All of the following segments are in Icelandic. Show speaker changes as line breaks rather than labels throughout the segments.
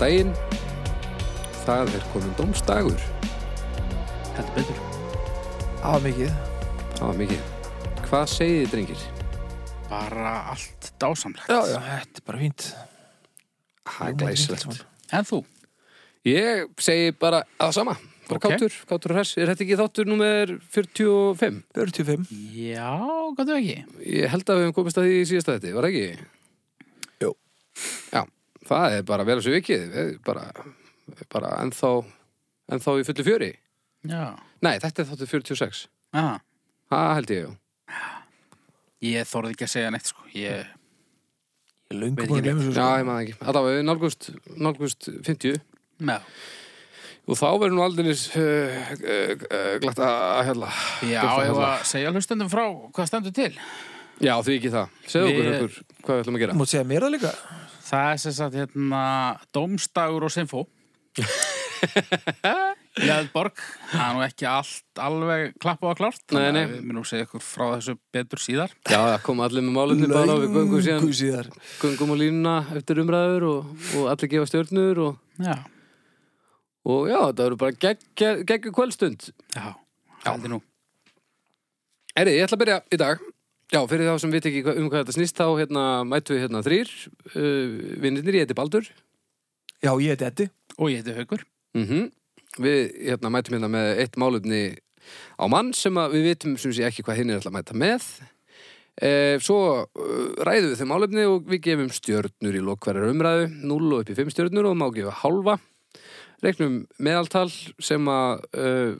daginn það er komin dómsdagur
Heldur betur.
Það var mikið.
það var mikið hvað segið þið drengir?
Bara allt dásamlegt.
Já, já, þetta er bara fínt.
Það er glæsilegt
En þú?
ég segi bara að sama bara
Ok.
kátur, kátur og hress er þetta ekki þáttur númer 45?
45.
Já, gætu ekki.
Ég held að við hefum komist að því í síðasta þetta, var það ekki?
Jú.
Já, það er bara vel þessu vikið, við erum bara, við erum bara ennþá, ennþá í fullu fjöri.
Já.
Nei, þetta er þáttu 46.
Ah,
Það held ég, jú.
ég þorði ekki að segja neitt, sko. Ég,
Ég er löngu
Veit
búin
ekki
að glemja svo.
Já, ég maður ekki. Það var nálgust, nálgust 50
já.
og þá verður nú aldeilis uh, uh, uh, glatt að hella.
Já,
glatt að
ég var
hella.
að segja hlustendum frá hvað stendur til.
Já, því ekki það. Segðu okkur,
Við-
okkur, hvað við ætlum að
sko. Þú
gera.
mátt segja mér það líka.
Það er sem sagt, hérna, Dómstagur og Sinfó. Leðborg, það er nú ekki allt alveg klappa og klárt.
Nei,
þannig að
nei.
Við munum segja ykkur frá þessu betur síðar.
Já, það kom allir með málefni bara og við göngum síðan,
Löngu síðar.
göngum á línuna eftir umræður og, og allir gefa stjórnur og
Já.
Og já, þetta verður bara geggjur gegg kvöldstund.
Já, haldi nú.
Erið, ég ætla að byrja í dag. Já, fyrir þá sem við ekki hva- um hvað þetta snýst, þá hérna, mætu við hérna þrýr, uh, vinnirnir, ég heiti Baldur.
Já, ég heiti Eddi.
Og ég heiti Haugur.
Mm Við hérna, mætum hérna með eitt málefni á mann sem að við vitum sem sé ekki hvað hinn er alltaf að mæta með. Eh, svo uh, ræðum við þau málefni og við gefum stjörnur í lok hverjar umræðu, 0 og upp í 5 stjörnur og má gefa halva. Reknum meðaltal sem að uh,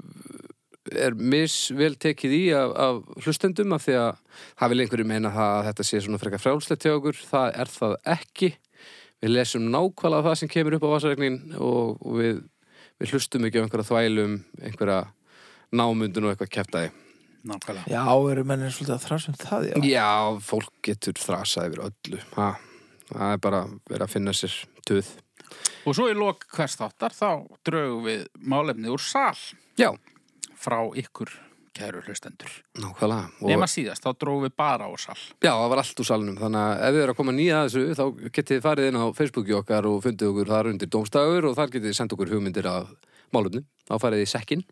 er misvel tekið í af, af hlustendum af því að það vil einhverju meina það að þetta sé svona frekar frjálslegt hjá okkur, það er það ekki. Við lesum nákvæmlega það sem kemur upp á vasaregnin og, og við, við hlustum ekki á einhverja þvælum, einhverja námundun og eitthvað kæftæði.
Nákvæmlega.
Já, eru mennir svolítið að þrásum það, já.
Já, fólk getur þrasað yfir öllu. Ha, það er bara verið að finna sér töð.
Og svo í lok hvers þáttar þá draugum við málefni úr sal
Já,
frá ykkur kæru hlustendur.
nákvæmlega. Og,
Nefna síðast, þá draugum við bara úr sal.
Já, það var allt úr salnum. Þannig að ef þið eru að koma nýja að þessu, þá getið þið farið inn á Facebooki okkar og fundið okkur þar undir Dómstagur og þar getið þið sendt okkur hugmyndir af málumni. Þá farið þið í sekkin.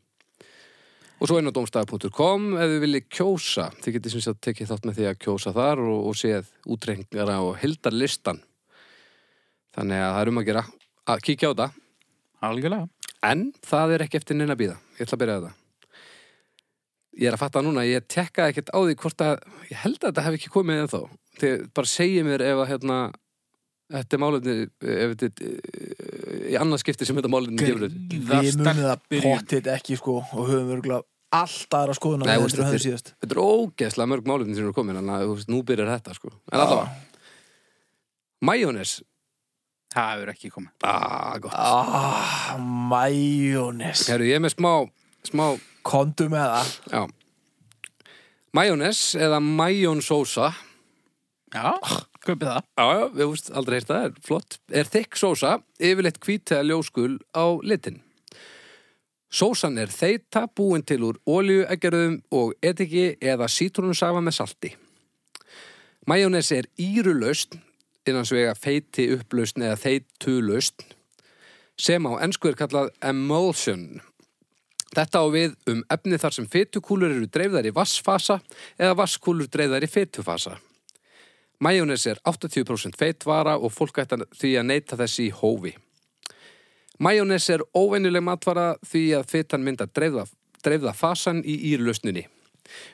Og svo inn á domstagur.com ef þið viljið kjósa. Þið getið sem sagt tekið þátt með því að kjósa þar og, og séð útrengara og hildarlistan. Þannig að það er um að gera að kíkja á þetta.
Algjörlega.
En það er ekki eftir neina að býða. Ég ætla að byrja þetta. Ég er að fatta núna, ég tekkaði ekkert á því hvort að, ég held að þetta hef ekki komið ennþá. Þið bara segið mér ef að hérna, þetta er málefni, ef þetta er eh, í annað skipti sem þetta málefni gefur þetta.
Við munum það
byrjun.
pottit ekki, sko, og höfum örgulega allt aðra skoðuna
Nei,
við
veist,
heldur en höfum
þetta
síðast.
Þetta er ógeðslega mörg málefni sem eru komin, en að, þú veist, nú byrjar þetta, sko. En allavega, majónes,
Það hefur ekki komið.
ah, gott.
Ah, majónis.
Herru, ég er með smá, smá,
Kondu með það.
já, majónes eða majónsósa.
Já, kaupið það.
Já, já, við húst aldrei heyrt það, er flott. Er þykk sósa, yfirleitt hvít eða ljóskul á litin. Sósan er þeita búin til úr oljueggerðum og etiki eða sítrónusafa með salti. Majónes er írulaust, innan svega feiti upplaustn eða þeitulaust, sem á ennsku er kallað emulsion. Þetta á við um efni þar sem fetukúlur eru dreifðar í vassfasa eða vasskúlur dreifðar í fetufasa. Majónes er 80% feitvara og fólk ætti að- því að neyta þessi í hófi. Majónes er óvenjuleg matvara því að fitan mynda dreifða, dreifða fasan í írlausninni.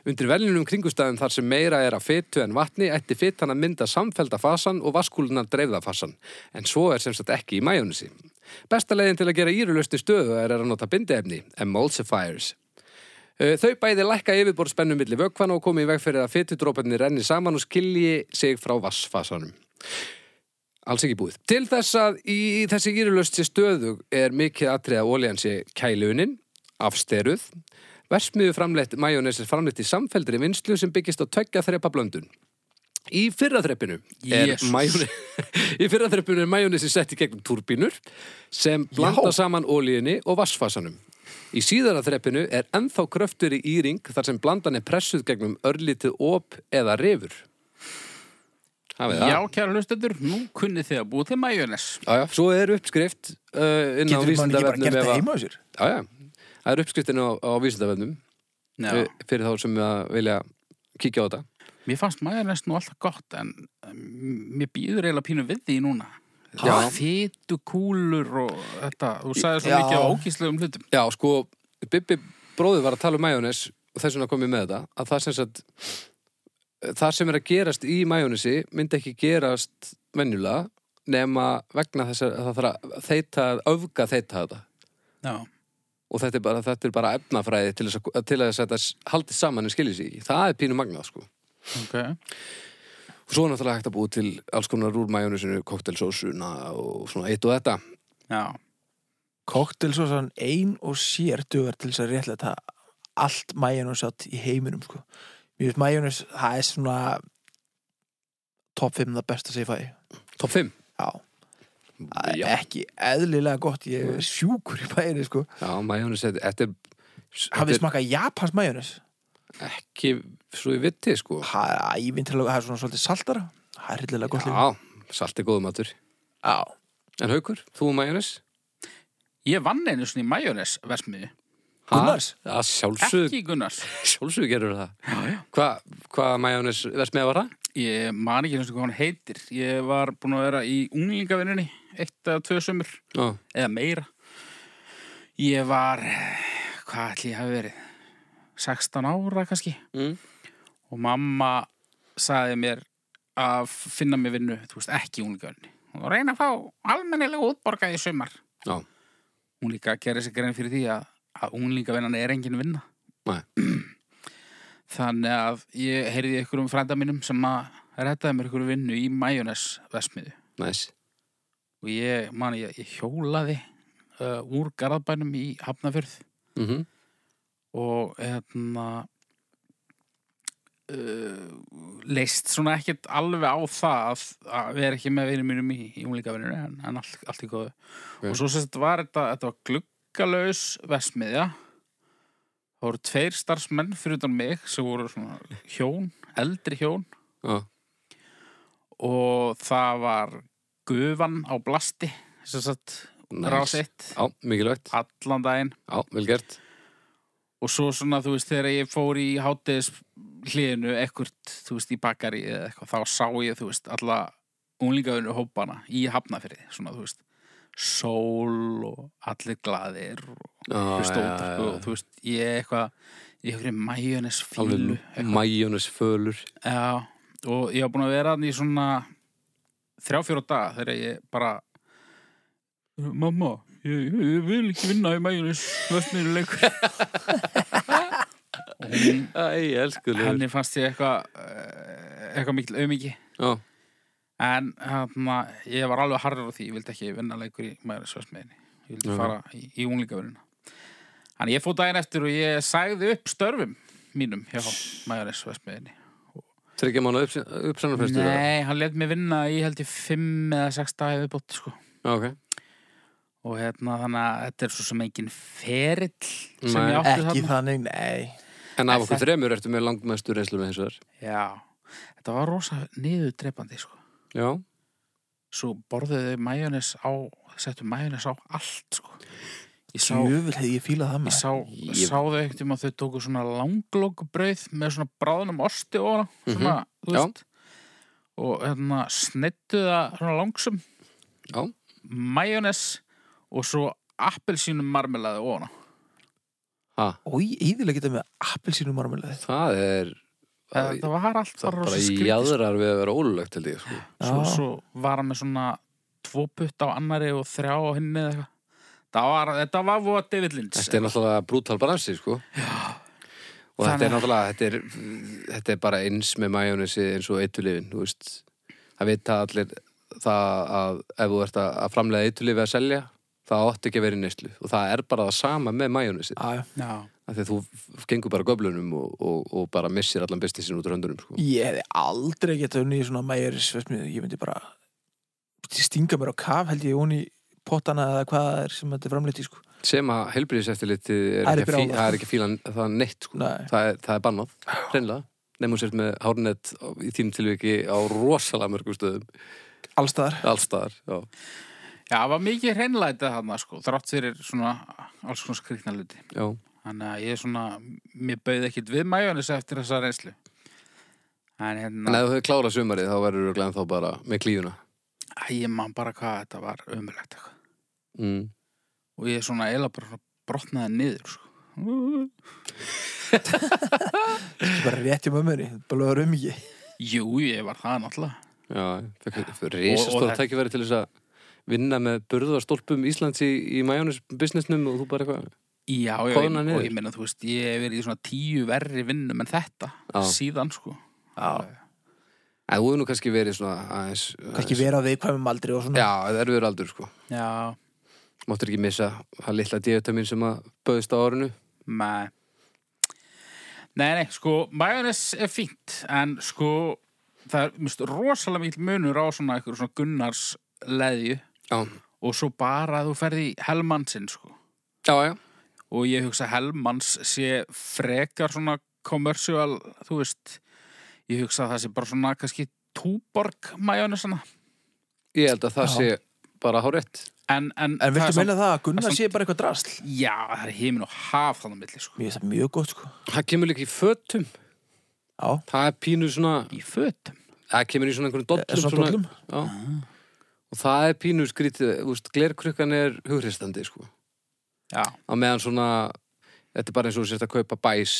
Undir veljunum kringustæðum þar sem meira er að fitu en vatni ætti fitan að mynda samfelda fasan og vaskúlunar dreifða fasan, en svo er sem sagt ekki í majónesi. Besta leiðin til að gera írlausni stöðu er að nota bindeefni, emulsifiers. Uh, Þau bæði lækka yfirborðspennu milli vökvana og komi í veg fyrir að fytudróparnir renni saman og skilji sig frá vassfasanum. Alls ekki búið. Til þess að í þessi gýrulöst sé stöðug er mikið atrið að ólíðan sé kælunin, afsteruð, versmiðu framleitt majónes er framleitt í samfeldri vinslu sem byggist á tveggja þrepa blöndun. Í fyrraþreppinu er,
Jesús.
majónes, í fyrraþreppinu er majónesi sett í gegnum turbínur sem blanda saman ólíðinni og vassfasanum. Í síðara þreppinu er ennþá kröftur í íring þar sem blandan er pressuð gegnum örlítið op eða rifur. Hafið það.
Já, kæra hlustendur, nú kunnið þið að búa til majónes.
Já, já, svo er uppskrift uh, inn á
Getur maður ekki bara
vísindavefnum
gert
ef
það
að-
heima á sér?
Já, já, það er uppskriftin á, á vísindavefnum
Já,
uh, fyrir þá sem að vilja kíkja á þetta
mér fannst majónes nú alltaf gott en um, mér býður eiginlega pínu við því núna.
Já.
Fýtu kúlur og þetta, þú sagði svo
Já.
mikið á ógíslegum hlutum.
Já, sko, Bibbi bróðið var að tala um majónes og þess vegna kom ég með þetta að það sem, sagt, það sem er að gerast í majónesi myndi ekki gerast venjulega nema vegna þess að það þarf að þeita, öfga þeita þetta
Já,
og þetta er bara, þetta er bara efnafræði til þess að, til þess að þetta haldið saman en skiljið sig ekki. Það er pínu magnað, sko.
ok.
Og svo er náttúrulega hægt að búi til alls konar úr majónesinu, koktelsósuna og svona eitt og þetta.
Já,
Koktel svo sann ein og sér dugar til þess að réttlega það allt majónusátt í heiminum sko. Mér finnst majónus, það er svona top 5 það besta sem ég fæ
Top 5.
Já, það er
Já,
ekki eðlilega gott, ég er sjúkur í majónus sko.
já majónes, þetta þetta er... þetta
Hafið
er
smakað japans majónus?
Ekki svo ég viti, sko.
Það er ævintilega, það er svona svolítið saltara Það er hryllilega gott líka
Já, salt er góðu matur.
Já,
En haukur, þú og majónes?
ég vann einu svona í majónes versmiði.
Ha?
Gunnars?
Já, sjálfsög,
Ekki Gunnars.
sjálfsög gerur það.
Já, já.
Hvað hva majónes verðst með var það?
Ég man ekki eins og hvað hann heitir. Ég var búin að vera í unglingavinnunni, eitt eða tvö sömur.
Já,
eða meira ég var hvað ætli ég hafi verið 16 ára kannski
Mm.
og mamma sagði mér að finna mér vinnu þú veist ekki úlgönni og reyna að fá almennilega útborgað í sumar
já,
hún líka gerði sér grein fyrir því að, að unglingavinnan er engin vinna
Nei.
þannig að ég heyrði ykkur um frænda mínum sem að rettaði mér ykkur vinnu í Majónes vesmiðu
næs.
og ég, man, ég, ég hjólaði uh, úr Garðabænum í Hafnafjörð
Mm
og hérna uh, leist svona ekkert alveg á það að, að vera ekki með vinum mínum í, í umlíkavinnur en, en allt, allt í góðu
Ok.
og svo sem þetta var þetta, þetta var gluggalaus vesmiðja það voru tveir starfsmenn fyrir utan mig sem voru svona hjón, eldri hjón
Já,
og það var gufan á blasti sem sagt
næs.
rás eitt
Já, mikilvægt.
allan daginn
Já, vel gert.
og svo svona þú veist þegar ég fór í hátis hliðinu ekkert þú veist í bakari eða eitthvað þá sá ég þú veist alla unlingaðinu hópana í hafnafyrði svona þú veist sól og allir glaðir og
Já,
hlusta
Ah, já,
út
já,
sko, og þú veist ég eitthvað ég eitthvað majónes fílu
Alveg majónes fölur.
Já, og ég var búin að vera þannig í svona þrjá fjóra daga þegar ég bara Mamma, ég, ég, ég vil ekki vinna í mæjunis vöstninu leikur og hún,
Æ, elskulegur.
henni fannst ég eitthvað eh, eitthvað mikil auðmiki
Já,
en hérna, ég var alveg harður á því ég vildi ekki vinna leikur í mæjunis vöstninu ég vildi
Já.
fara í, í unglingavöruna Þannig ég fór daginn eftir og ég sagði upp störfum mínum hjá mæjunis vöstninu
tryggja mánu uppsannarfestu.
Nei, hann let mér vinna í held ég fimm eða sex dagi viðbótt sko.
Já, ok.
og hérna þannig að þetta er svo sem engin ferill sem
Nei.
ég átti
ekki
þarna.
þannig, nei
En af okkur
það-
þremur ertu með langmestu reynslu með þessu þar.
Já, þetta var rosa niður drepandi sko.
Já,
svo borðuðu majónis á settu majónis á allt sko. ég sá,
Jöfnvel hefði ég fílað það
ég
maður
sá,
Ég-
sá þau ekkert um að þau tóku svona langlokbrauð með svona bráðunum osti og svona, þú
Mhm. Já.
veist og hérna snittu það svona langsum
já.
majónes og svo appelsínum marmelaði ofan á.
Ha,
Ói, íðilega geta með appelsínum marmelaði
það er...
Þetta var allt
Það
bara
bara
rosa skrítið. sko.
jæðrar við að vera ólulegt held ég sko.
Svo,
Já.
svo var hann með svona tvo putt á annari og þrjá á henni eða eitthvað. Það var, þetta var voða David Lynch.
Þetta er náttúrulega brútal bransi sko. og þetta er
Þannig-
náttúrulega þetta er, þetta er bara eins með majónesi eins og eitulifin það vita allir það að ef þú ert að að framlega eitulifi að selja það átti ekki að vera í neyslu og það er bara það sama með majónesi
Já, já.
Já,
af því að þú f- gengur bara göblunum og, og, og bara missir allan businessin út úr höndunum sko.
Ég hefði aldrei getað unni í svona mæjuris Ég myndi bara stinga mér á kaf held ég unni pottana eða hvað það er sem þetta er framleitt í sko.
sem að helbriðis eftirliti er
Það er
ekki, að fí,
brjálað.
það er ekki fílan það neitt sko.
Nei.
það, er, það er bannað, reynlega nefnum sért með hárnett á- í þínum tilviki á rosalega mörgum stöðum
allstaðar
allstaðar, já
Já, það var mikið hreinlætið þarna sko, þrátt fyrir svona alls konar skrikna hluti.
Já,
Þannig að ég svona, mér bauði ekkit við majónis eftir þessa reynslu. En hérna,
en ef þú hefur klárað sumarið þá verður þú glæðan þá bara með klífuna
Æ, ég man bara hvað þetta var umrætt eitthvað.
mm.
Og ég svona eila bara svona brotnaði niður sko.
Ekki bara rétt í mömmunni, bara lögur um ekki
Jú, ég var það náttúrulega.
Já, risastóð
Og- og-
tækifæri til þess að vinna með burðarstólpum Íslands í, í majónis businessnum og þú bara eitthvað
Já, já, ég,
Koðnaði niður?
og ég meina, þú veist, ég hef verið í svona tíu verri vinnum en þetta
Já.
síðan sko.
Já.
En þú hefur nú kannski verið svona aðeins, aðeins
Kannski vera á viðkvæmum aldrei og svona
Já, það er verið aldur sko
Já,
Máttur ekki missa það litla dietamin sem að bauðist á árinu
Nei Nei, nei, sko, majónes er fínt en sko, það er mist, rosalega mikil munur á svona einhver svona Gunnars leðju
Já,
og svo bara að þú ferði Helmansinn, sko
já, já
og ég hugsa Helmans sé frekar svona commercial, þú veist ég hugsa að það sé bara svona kannski túborg majónesana
Ég held að það
Já.
sé bara hárétt
en, en,
En
það er
viltu
samt-
meina það að Gunnar
samt-
sé bara eitthvað drasl?
Já, það er heimin og haf þannig milli, sko
Mér finnst það mjög gott sko
Það kemur líka í fötum
Já,
Það er pínu svona
í fötum
Það kemur í svona einhvern
er
dollum
Eh, svona dollum Ah.
Já Og það er pínu skrítið, þú veist, glerkrukkan er hugristandi, sko.
Já,
Á meðan svona, þetta er bara eins og þú sért að kaupa bæs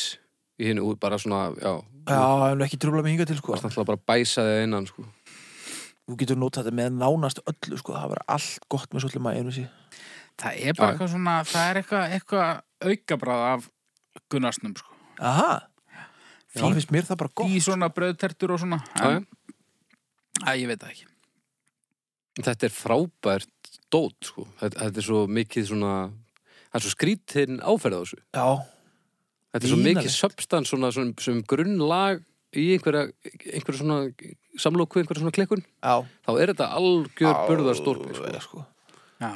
í hinu út, bara svona, já,
Já, það er nú ekki trúblað með hingað til sko
varst náttúrulega bara að bæsa þig að innan, sko.
Þú getur notað þetta með nánast öllu sko Það var allt gott með svolítið maður einu
Það er
Já.
bara eitthvað svona, það er eitthvað, eitthvað aukabráð af Gunnarsnum, sko.
Aha, þá finnst mér það bara gott
Í svona bröðtertur og svona.
Já, já.
Æ, ég veit það ekki.
Þetta er frábært dót, sko. Þetta, þetta er svo mikið svona, það er svo skrítinn áferð á þessu.
Já,
Þetta er svo mikið
Vínalegt.
substans, svona, svona, sem grunnlag í einhverja, einhverja svona samlóku, einhverja svona klikkun.
já
Þá er þetta algjör burðarstólpi, sko.
Alveg, sko.
Já.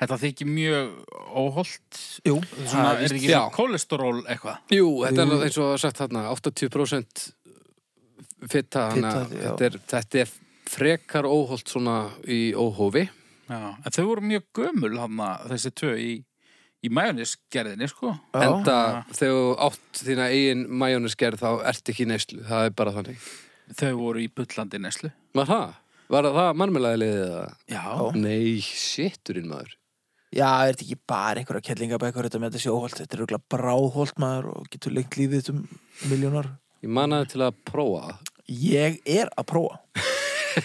Þetta þykir mjög óholt.
Jú,
Svona, er ekki
Já.
svona kólesteról eitthvað?
Jú, þetta
Jú.
er eins og sagt þarna 80% fitta, hana,
Fitta, já.
þetta, er, þetta er frekar óholt svona í óhófi
Já. En þau voru mjög gömul, hann, þessi tvö í, í majónisgerðinni, sko.
Já.
enda þegar þú átt þína eigin majónisgerð þá ert ekki í neyslu, það er bara þannig
Þau voru í bullandi neslu.
Var það? Var það marmelaði liðið það?
Já.
Já.
Nei, sitturinn maður
Já, er þetta ekki bara einhverja kellingabækur þetta með þetta sjóholt, þetta er auðvitað bráðholt maður og getur lengt lífið þetta um miljónar
Ég mannaði til að prófa það
Ég er að prófa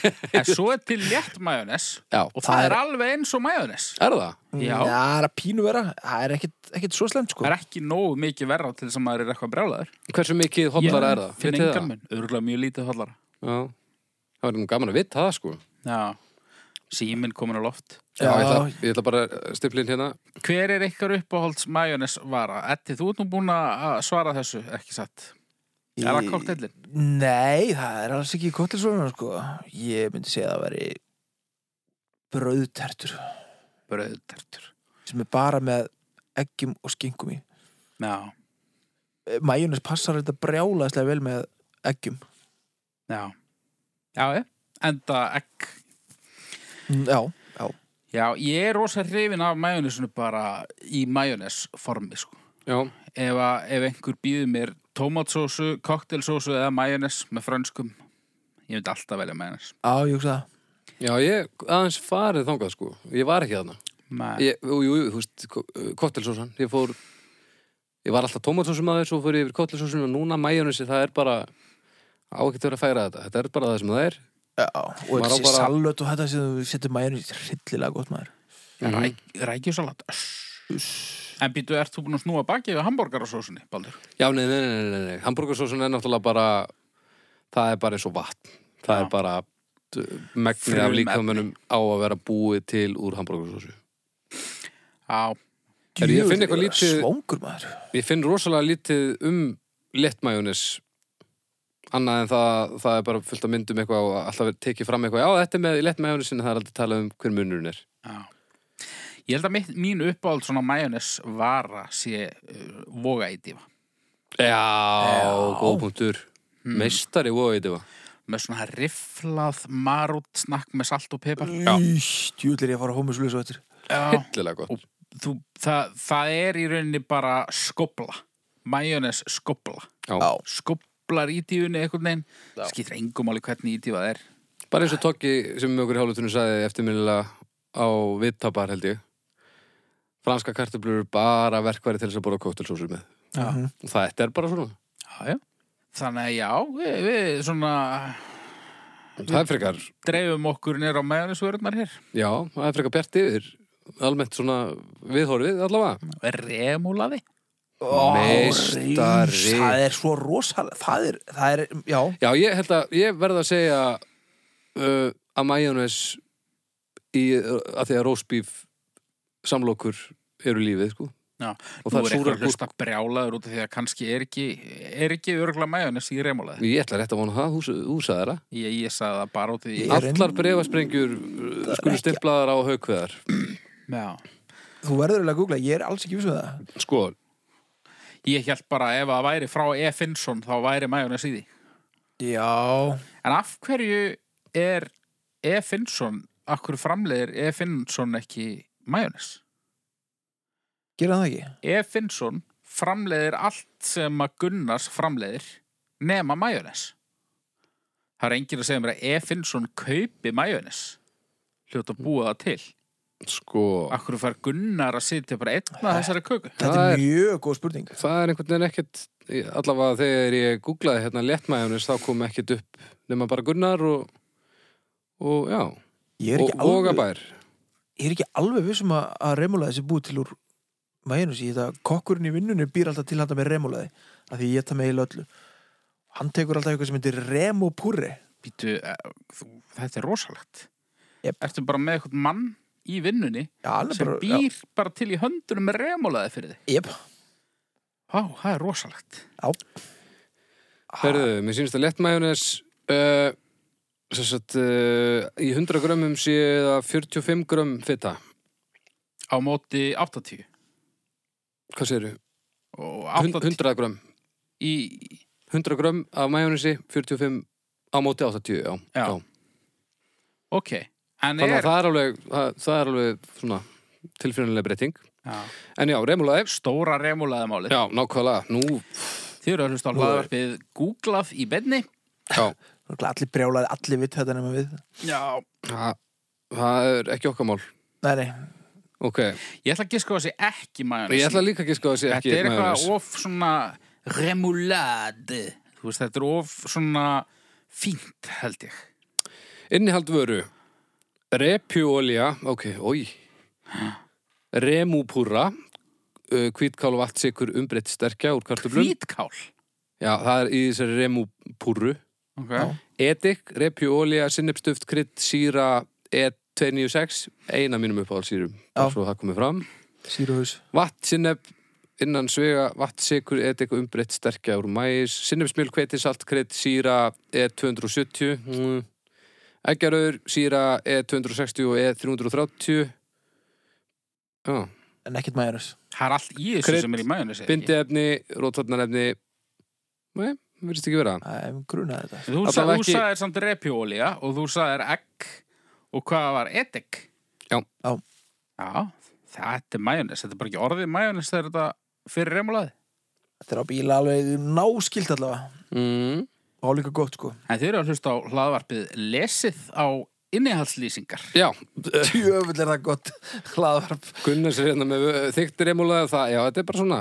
En svo er til létt majónes
Já,
og það,
Það
er,
er-
alveg eins og majónes.
er það?
Já.
Það er að pínu vera, það er ekkit, ekkit svo slemt sko
Það er ekki nógu mikið verra til þess að maður er eitthvað brjálaður.
Hversu mikið hotlara er það?
Finn
Vitið
engan
það?
mun, örgulega mjög lítið hollara.
Já, það var nú gaman að vita það sko
Já, síminn komin á loft.
Já, ég ætla, ég ætla bara stiflinn hérna
Hver er ykkar uppáhalds majónes vara? Eddi, þú ert nú búin að svara þessu, ekki satt. Er það koktellin?
Nei, það er alls ekki kottilsvöruna sko Ég myndi segja að það veri brauðtertur
Bröðtertur.
sem er bara með eggjum og skingum í
Já,
Mæjunis passar þetta brjálaðslega vel með eggjum
já. Já, ég. Enda egg.
Mm, Já,
Já, ég er rosa hrifin af majónesinu bara í majónes formi, sko.
Já,
Ef, að, ef einhver býður mér tómatsósu, koktelsósu eða majónes með frönskum, ég myndi alltaf velja majónes.
já, ég hugsa það
já ég aðeins farið þangað sko Ég var ekki þarna
Nei.
Ég, jú, jú, jú, þú veist, ko- uh, kottelsósan Ég fór, ég var alltaf tómatsósum aðeins og fór ég yfir kottelsósun og núna majónesi, það er bara á ekki til að færa þetta, þetta er bara það sem það er
Já, og
Maður á
þessi
bara-
salöt og þetta sem þú setur majónis hryllilega gott maður
Ræk, rækjusalat Mhm. En býtu, ert þú búin að snúa bakið á hambúrgarasósunni, Baldur?
Já, nei, nei, nei, nei, nei. hambúrgarsósun er náttúrulega bara það er bara eins og vatn það
Já.
er bara d- megnið af
Frumefni.
líkamunum á að vera búið til úr hambúrgarsósu
Já,
Heyrðu, ég finn
Djöfull,
eitthvað
ég er
lítið-
Svangur maður
Ég finn rosalega lítið um lettmajónis annað en það, það er bara fullt að myndum eitthvað og alltaf er tekið fram eitthvað já, þetta er með lettmajónisin, það er aldrei talað um hver munurinn er
já Ég held að mitt, mín uppáhald svona majónes vara sé uh, voga í dífa
Já,
Já.
góð punktur.
Mm.
Meistari voru þetta var.
með svona rifflað marút snakk með salt og pepar
Stjúlir ég að fara hómuslösa eftir
Já.
Hillilega gott.
Og- Þú, það, það er í rauninni bara skopla majónes skopla
Já.
Já.
skoplar í tífunni einhvern veginn
Já.
skiptir engum alveg hvernig í tífa það er
Bara eins og Toggi sem okkur í hálfutunum sagði eftirminnilega á vittabar held ég. Franska kartöflur eru bara verkværi til þess að bóra kóttelsósur með.
Já,
Og þetta er bara svona.
já, já. þannig að já við, við svona
Það er frekar,
dreifum okkur nýr á majónesvörðnar hér
já, það er frekar bjart yfir. Almennt svona viðhorfið allavega.
remúlaði
Meistari.
rís, Það er svo rosalega Það er, það er, já
Já, ég held að, ég verð að segja uh, að majónes í, að því að rósbíf samlokur eru lífið, sko.
Já,
og
Nú
það er
er
súrar
eitthvað
gúrk.
hlusta brjálaður út af því að kannski er ekki, er ekki örgla majónes í remúlaði.
Ég ætla rétt að vona það, þú- þú sagði það.
Ég, ég sagði það bara út af því.
Ég- er
Allar
enn-
brefasprengjur skulu
ekki-
stimplaðar á haukveðar.
Já.
Þú verður eiginlega að googla, ég er alls ekki viss um það
Sko,
Ég held bara að ef það væri frá E. Finnsson þá væri majónes í því.
Já
En af hverju er E. Finnsson, af hverju framleiðir E. Finnsson ekki majónes?
Gerða það ekki?
E. Finnsson framleiðir allt sem að Gunnars framleiðir nema majónes. Það er enginn að segja mér að E. Finnsson kaupi majónes. Hljóta að búa það til.
sko,
Akkur fær Gunnar að sitja bara einn að þessari köku
Þetta
Það
er
er-
mjög góð spurning
það er einhvern veginn ekkert, allavega þegar ég googlaði hérna léttmæjunis þá kom ekkert upp nema bara Gunnar og, og já,
Ég er
og
ekki alveg
Vogabær.
ég er ekki alveg vissum að, að remulaði sé búið til úr majónus, ég þetta kokkurinn í vinnunni býr alltaf til handa með remulaði af því ég geta með í öllu hann tekur alltaf eitthvað sem heitir remopurri
Býtu, eh, þú- þetta er rosalegt
Jep.
Ertu bara með eitthvað mann í vinnunni
já, alveg
sem
bara,
býr bara til í höndunum með remólaði fyrir þig
já, jep,
Vá, það er rosalegt
Herðu, mér sínst að léttmæjunis uh, sem sagt, uh, í 100 grömmum sé það 45 grömm fitta.
Á móti 80
Hvað segirðu?
Og
80.
80
100 grömm.
í
100 grömm af majónisi, 45 á móti 80, já.
Já. Ok, en
Þannig að
er
það er alveg, það, það er alveg svona tilfinnilega breyting.
Já.
En já, remulaði.
Stóra remólaði málið
Já, nákvæmlega. Nú,
Þið eru að hlusta á
Nú-
hlaðvarpið Googlað í benni
já,
Náttúrulega allir brjálaði, allir vitt þetta nema við
Já
það, það er ekki okkar mál.
nei, nei,
Ok,
Ég ætla að giska á þessi ekki majónesi
ég ætla líka ekki sko að segja
Þetta
ekki
er eitthvað
majónes.
of svona remoulade Þú veist, þetta er of svona fínt, held ég
Innihald vöru. Repjúolja, ok, oi. Remúpúra, uh, hvítkál og vatnsikur umbreytt sterkja úr kartöflum.
Hvítkál
Já, það er í þessari remúpúru.
okay.
Edik, repjúolja, sinnepstuft, krydd, síra, E E296, eina mínum uppáhaldsýrum,
Já.
svo það komið fram.
síruhaus
Vatt, sinneb, innan svega, vatt, sikur, edik og umbreytt sterkja úr mæs, sinnebsmjöl, hveiti, salt, krydd, síra, E E270, mm. eggjaröður, síra, E260 og E330, já,
en ekkert majónus
Það er allt í þessu
Krydd,
sem er í majónesi
bindiefni, rótvarnarefni, nei, verðist ekki vera.
grunaði þetta
Þú,
Alla
sa,
vega
þú
ekki-
sagðir samt repjóolía og þú sagðir egg og hvað var edik
Já.
Já.
Já, þetta er majónes Þetta er bara ekki orðið majónes þegar þetta fyrir remulaði
þetta er á bíla alveg náskilt allavega
Mm.
og álíka gott sko
En þið eru að hlusta á hlaðvarpið lesið á innihaldslýsingar
Já,
tjöfull er það gott hlaðvarp
Gunnars er hérna með þykkt remúlega það, já, þetta er bara svona.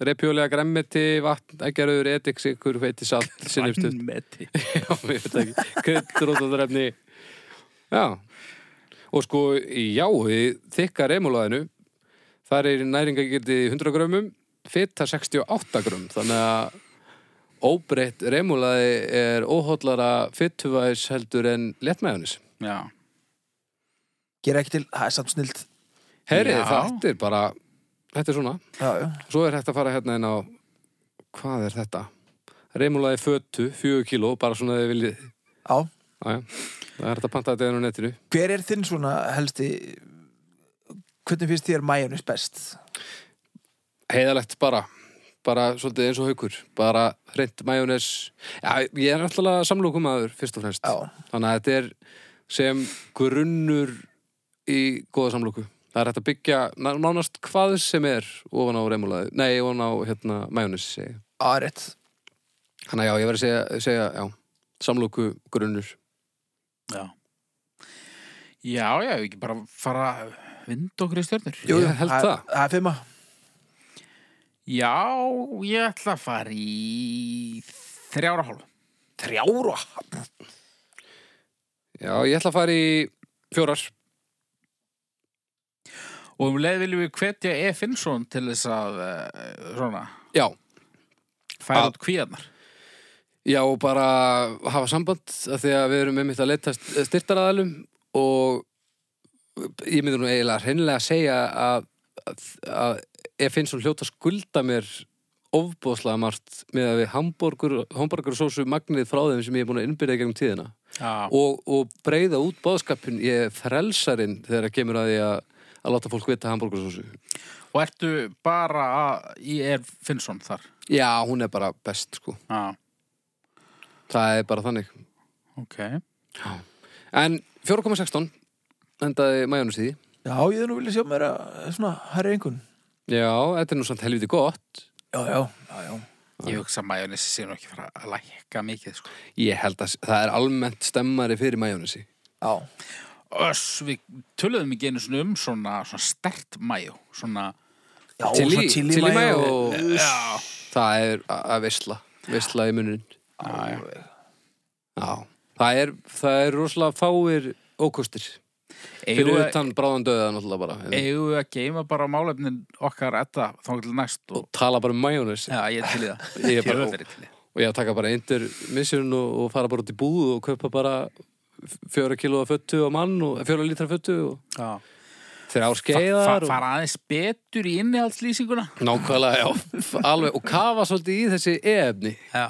Repjólega gremmiti, vatn, eggjaröður, edik, sikur, hveiti, salt, sinnebstuft.
Grænmeti.
Já, ég veit ekki, kryddrótaðrefni Já Og sko, já, í þykka remulaðinu þar er næringagildi 100 grömmum fita 68 grömm þannig að óbreytt remulaði er óhóllara fituvæs heldur en léttmæðunis
Já
gera ekki til, það er samt snilt
Herrið,
Já.
þetta er bara þetta er svona,
já, já.
svo er hægt að fara hérna inn á hvað er þetta? Remulaði fötu, 4 kíló bara svona þið viljið,
já.
aðja það er hægt að panta þetta inn á netinu
Hver er þinn svona helsti hvernig finnst þér majónis best?
heiðalegt bara bara svolítið eins og haukur bara hreint majónes já, ég er náttúrulega samlokumaður fyrst og fremst
Já,
þannig að þetta er sem grunnur í góða samloku það er hægt að byggja ná- nánast hvað sem er ofan á remulaði, nei ofan á hérna, majónes þannig
á, rétt
að já, ég verið að segja, segja já, samloku grunnur
Já. Já, já, við ekki bara fara að vinda okkur í stjörnur.
Jú, ég held
Það-
það
Það er fimma
Já, ég ætla að fara í þrjára hálf.
Þrjára
Já, ég ætla að fara í fjórar
Og um leið viljum við hvetja E. Finnsson til þess að uh, svona,
Já,
færa
Að-
út kvíðarnar.
já og bara hafa samband af því að við erum einmitt að leita styrtaraðalum og ég myndi nú eiginlega hreinlega að segja að, að, að ég finn svo hljóta að skulda mér ofbóðslega margt með að við hambúrgur, hambúrgursósu magnið frá þeim sem ég er búin að innbyrja gegnum tíðina
Já,
og, og breyða út bóðskapin ég er frelsarinn þegar að kemur að því að, að láta fólk vita hambúrgursósu
og ertu bara að, í E. Finnsson þar. Ah,
Já, hún er bara best sko
Já,
það er bara þannig
ok.
En 4,16 endaði majónus í því.
Já, ég hefði nú vilja sjá mér að svona herri einhvern
Já, þetta er nú samt helviti gott.
Já, já, já, já
Ég hugsa að majónesi sé nú ekki fara að lækka mikið, sko.
Ég held að s- það er almennt stemmari fyrir majónusi.
Já,
Öss, við töluðum ekki einu svona um svona, svona stert majó, svona,
já
Chili-
svona chili
chili
mayo.
mayo.
já,
Það er a- að veisla, veisla í munurinn.
já, já.
Já, það er, það er rosalega fáir ókostir. Fyrir
Eigum við-
utan bráðan döða náttúrulega bara. En,
eigum við að geima bara málefnin okkar etta þá til næst og
og tala bara um majónusi.
já, ég er til í það
Ég er bara-
öll verið til í það.
Og ég að taka bara eindir missurinn og, og fara bara út í búð og kaupa bara f- fjóra kilóa föttu á mann og fjóra lítra föttu og þrjá
Fa-
skeiðar.
fa-
og-
fara aðeins betur í innihaldslýsinguna
Nákvæmlega, já, alveg, og kafa svolítið í þessi e-efni.
já,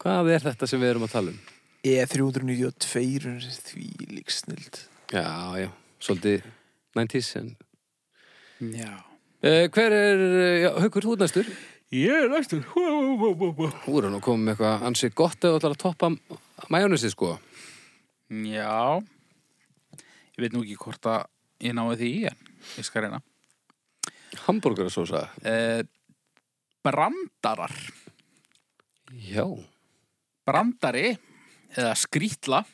Hvað er þetta sem við erum að tala um?
E E392 er því lík snild
Já, já, svolítið 90s. En...
já.
Uh, hver er, eh, já, haukur, þú ert næstur?
ég er næstur
Þú eru nú komið með eitthvað ansi gott eða allar að toppa majónusið, sko.
já ég veit nú ekki hvort að ég náði því en ég skal reyna
Hamburgersósa.
eh, brandarar
Já,
brandari eða skrítla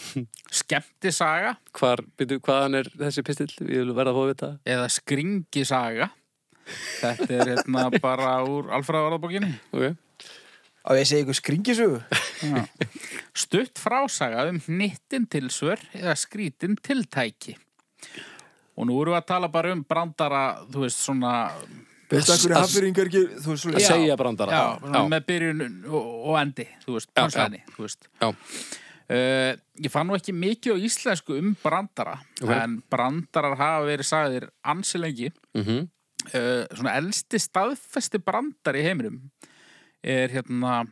skemmtisaga
hvar, byrju, hvaðan er þessi pistill? Ég vil verða að fá að vita.
eða skringisaga þetta er hérna bara úr alfræðavarðabókinni
Ok.
Á ég segi ykkur skringisögu
stutt frásaga um hnittin tilsvör eða skrítin tiltæki og nú erum við að tala bara um brandara þú veist svona,
Veistu að hverju
Að-
hafyringar ger Þú veist
Að
svona
Já.
segja brandara.
já, svona
já.
með byrjun og, og endi þú veist,
Já,
punchline-i, þú veist.
Já.
Eh, ég fann nú ekki mikið á íslensku um brandara
Ok.
en brandarar hafa verið sagðir ansi lengi
Mhm.
uh, svona elsti staðfesti brandar í heiminum er hérna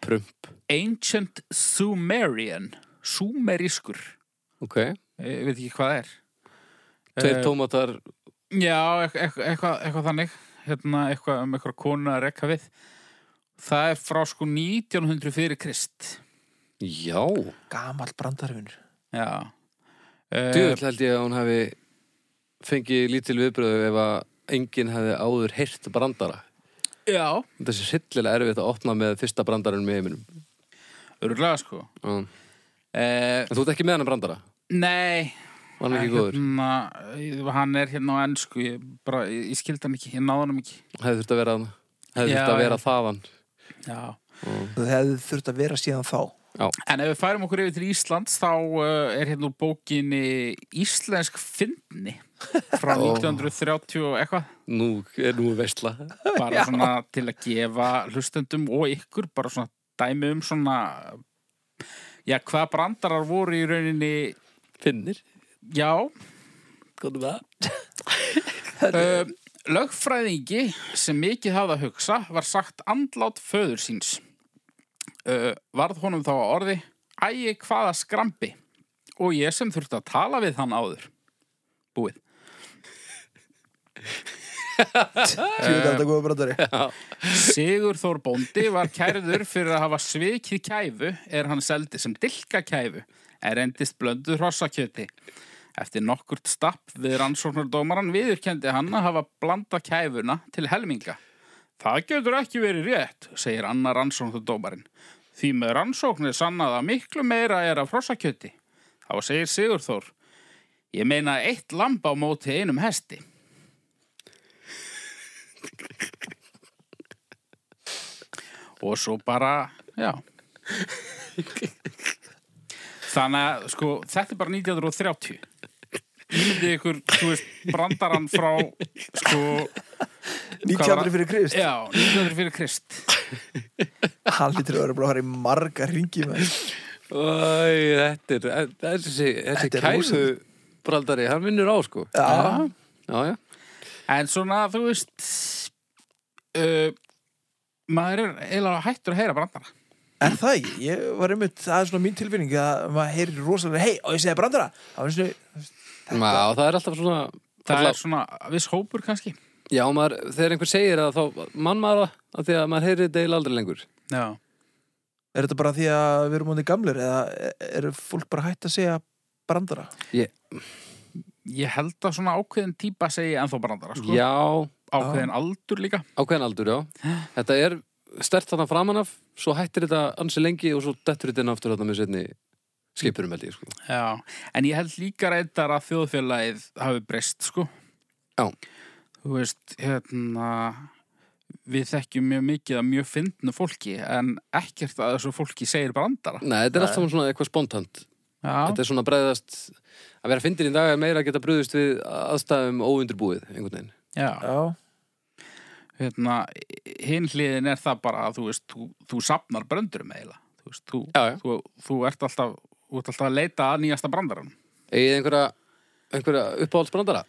Prump.
Ancient Sumerian Sumerískur
Ok.
ég veit ekki hvað það er
Tveir
Eh,
tómatar.
já, eit- eit- eitthvað, eitthvað þannig hérna eitthvað um eitthvað konu að rekka við það er frá sko 1900 fyrir krist
Já.
Gamal brandarvinur
já Eh,
Djúvill held ég að hún hefði fengið lítil viðbröðu ef að enginn hefði áður heyrt brandara.
já,
Þetta sé sillilega erfitt að opna með fyrsta brandarinn með heiminum.
örgulega sko
Um,
uh,
en þú ert ekki með hann brandara?
nei
Var hann ekki góður?
hérna, ég- hann er hérna á ennsku ég, bara, ég, ég skildi hann ekki, ég náði hann ekki
Hefði þurft að vera hann? Hefði
Já,
þurft að vera
já.
þaðan?
já
Það hefði þurft að vera síðan þá
En ef við færum okkur yfir til Íslands þá uh, er hérna úr bókinni Íslensk fyndni frá
Ó.
1930 og eitthvað
Nú er nú veistla.
bara svona til að gefa hlustendum og ykkur bara svona dæmi um svona já, hvað brandarar voru í rauninni
Finnir?
já,
Konum það?
uh, lögfræðingi sem mikið hafði að hugsa var sagt andlát föður síns uh, varð honum þá að orði ægi hvaða skrambi og ég sem þurfti að tala við hann áður búið
Tjóðið þetta góða brandari
Sigur Þór Bóndi var kærður fyrir að hafa svikið kæfu er hann seldi sem dilka kæfu er endist blöndu hrossakjöti. Eftir nokkurt stapp við rannsóknardómaran viðurkendi hann að hafa blanda kæfuna til helminga. Það getur ekki verið rétt, segir annar rannsóknardómarin. Því með rannsóknir sannað að miklu meira er af hrossakjöti. Þá segir Sigur Þór, ég meina eitt lamb á móti einum hesti. og svo bara, já þannig að sko, þetta er bara 1930 ímyndið ykkur, þú veist, brandarann frá sko,
1900 fyrir Krist
já, 1900 fyrir Krist
Hann lítur að vera bara að fara í marga ringi með
Æ, þetta er, en þessi, þessi
Þetta er
kæfu braldari, hann vinnur á sko.
Já.
Já, já.
en svona, þú veist uh, maður er eiginlega hættur að heyra brandara
Er það ekki? Ég var einmitt, það er svona mín tilfinning að maður heyrir rosalega, hei, og ég segja brandara Það var svona,
Já, það er alltaf svona
það
Alla-
er svona viss hópur kannski
Já, maður, þegar einhver segir það þá mann maður það af því að maður heyrir deil aldrei lengur
já,
er þetta bara því að við erum hóndi gamlir eða er fólk bara hætt að segja brandara?
ég held að svona ákveðin típa segi ennþá brandara, sko
Já,
ákveðin aldur líka
ákveðin aldur, já Þetta er stert þarna framan af svo hættir þetta ansi lengi og svo dettur þetta inn aftur þarna með setni skipurum held ég, sko
Já, en ég held líka reyndar að þjóðfélagið hafi breyst, sko.
Já.
Þú veist, hérna, við þekkjum mjög mikið af mjög fyndnu fólki, en ekkert að þessu fólki segir brandara.
Nei, þetta er alltaf svona eitthvað spontant
Já,
Þetta er svona bregðast að vera fyndin í dag er meira að geta brugðist við aðstæðum óundurbúið, einhvern veginn
já.
Já,
Hérna, hinn hliðin er það bara að þú veist, þú, þú sapnar bröndurum eiginlega. Þú veist, þú,
Já, já
þú, þú ert alltaf, þú ert alltaf að leita að nýjasta brandaran.
Egið einhverja, einhverja uppáhaldsbrandara?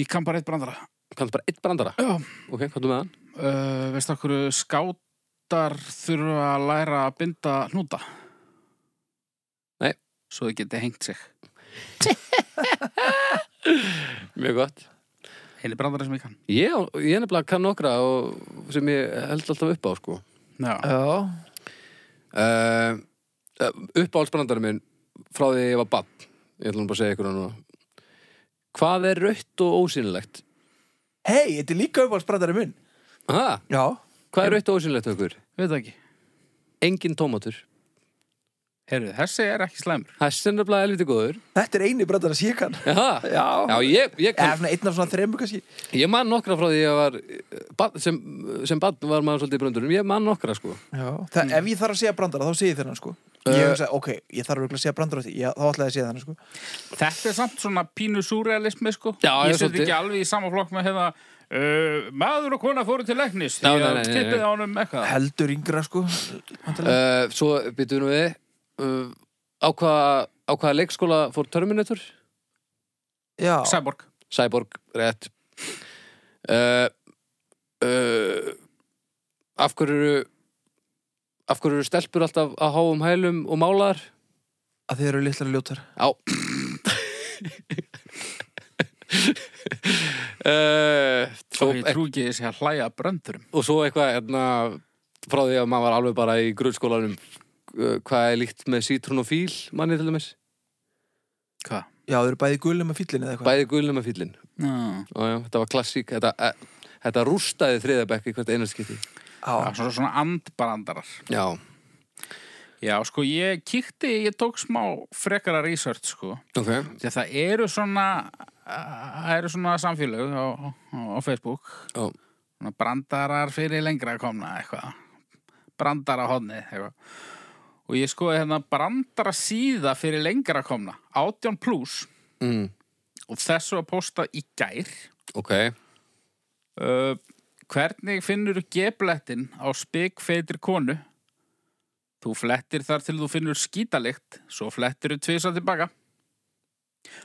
Ég kann bara eitt brandara.
Kanntu bara eitt brandara?
Já.
Ok, kanntu með hann?
Uh, veist okkur, skátar þurfa að læra að binda hnúta?
Nei.
Svo þau geti hengt sig.
Mjög gott
Heili brandari sem ég kann.
Ég, ég nefnilega kann nokkra og, sem ég held alltaf upp á sko.
Já.
já,
uh, uppáhaldsbrandari minn frá því ég var bann ég ætlum bara að segja ykkur hann núna. hvað er rautt og ósýnilegt?
hei, þetta er líka uppáhalds brandari minn
Aha,
Já,
hvað er rautt og ósýnilegt okkur?
Veit það ekki.
engin tómatur
Heyrðu, þessi er ekki slæmur.
það er sem nefnilega helviti góður
þetta er eini brandara sem ég kann
Aha.
Já,
Já, ég, ég,
eða
kann,
svona einn af svona þremur kannski
ég man nokkra frá því ég var eh, barn- sem, sem bann var maður svolítið í bröndurum ég man nokkra sko
Já, það, ef ég þarf að segja brandara þá segi ég þennan sko Ég hugsa, ok, ég þarf örugglega að segja brandara á því, já, þá ætla ég að segja þennan sko
Þetta er samt svona pínu súrealismi, sko.
Já,
ég
ég
set
svolítið.
ekki alveg í sama flokk með hérna uh, maður og kona fóru til læknis
Já,
því
nei,
að
nei, nei,
tippið
nei.
á honum eitthvað.
Heldur yngra sko væntanlega.
uh, svo byttum við uh, á hvaða á hvaða leikskóla fór Terminator? Eh,
Já,
Sæborg.
Cyborg, rétt uh, uh, Af hverju eru af hverju eru stelpur alltaf að háum hælum og málar?
að þið eru litlar ljótar
Já uh, svo,
Og ég trú ekki þessi að hlæja að bröndurum.
og svo eitthvað hérna, frá því að maður var alveg bara í grunnskólanum uh, hvað er líkt með sítrún og fíl manni til dæmis
Hvað?
Já, þau eru bæði gulum með fíllin eða eitthvað
bæði gulnum að fílin
Já.
já, þetta var klassík þetta, eh, þetta rústaði þriðabekk í hvert einarskipti
Það er
Já,
svona svona andbrandarar.
já,
Já, sko, ég kíkti, ég tók smá frekara research, sko.
ok
Því að það eru svona það eru svona samfélög á, á, á Facebook
Já.
svona brandarar fyrir lengra komna eitthvað brandara hodni eitthvað og ég skoði hérna brandara síða fyrir lengra komna 18 plus
mm,
og þessu að posta í gær
ok
uh, hvernig finnur geblettin á spikfeitir konu þú flettir þar til þú finnur skítalikt svo flettir þú tvisa tilbaka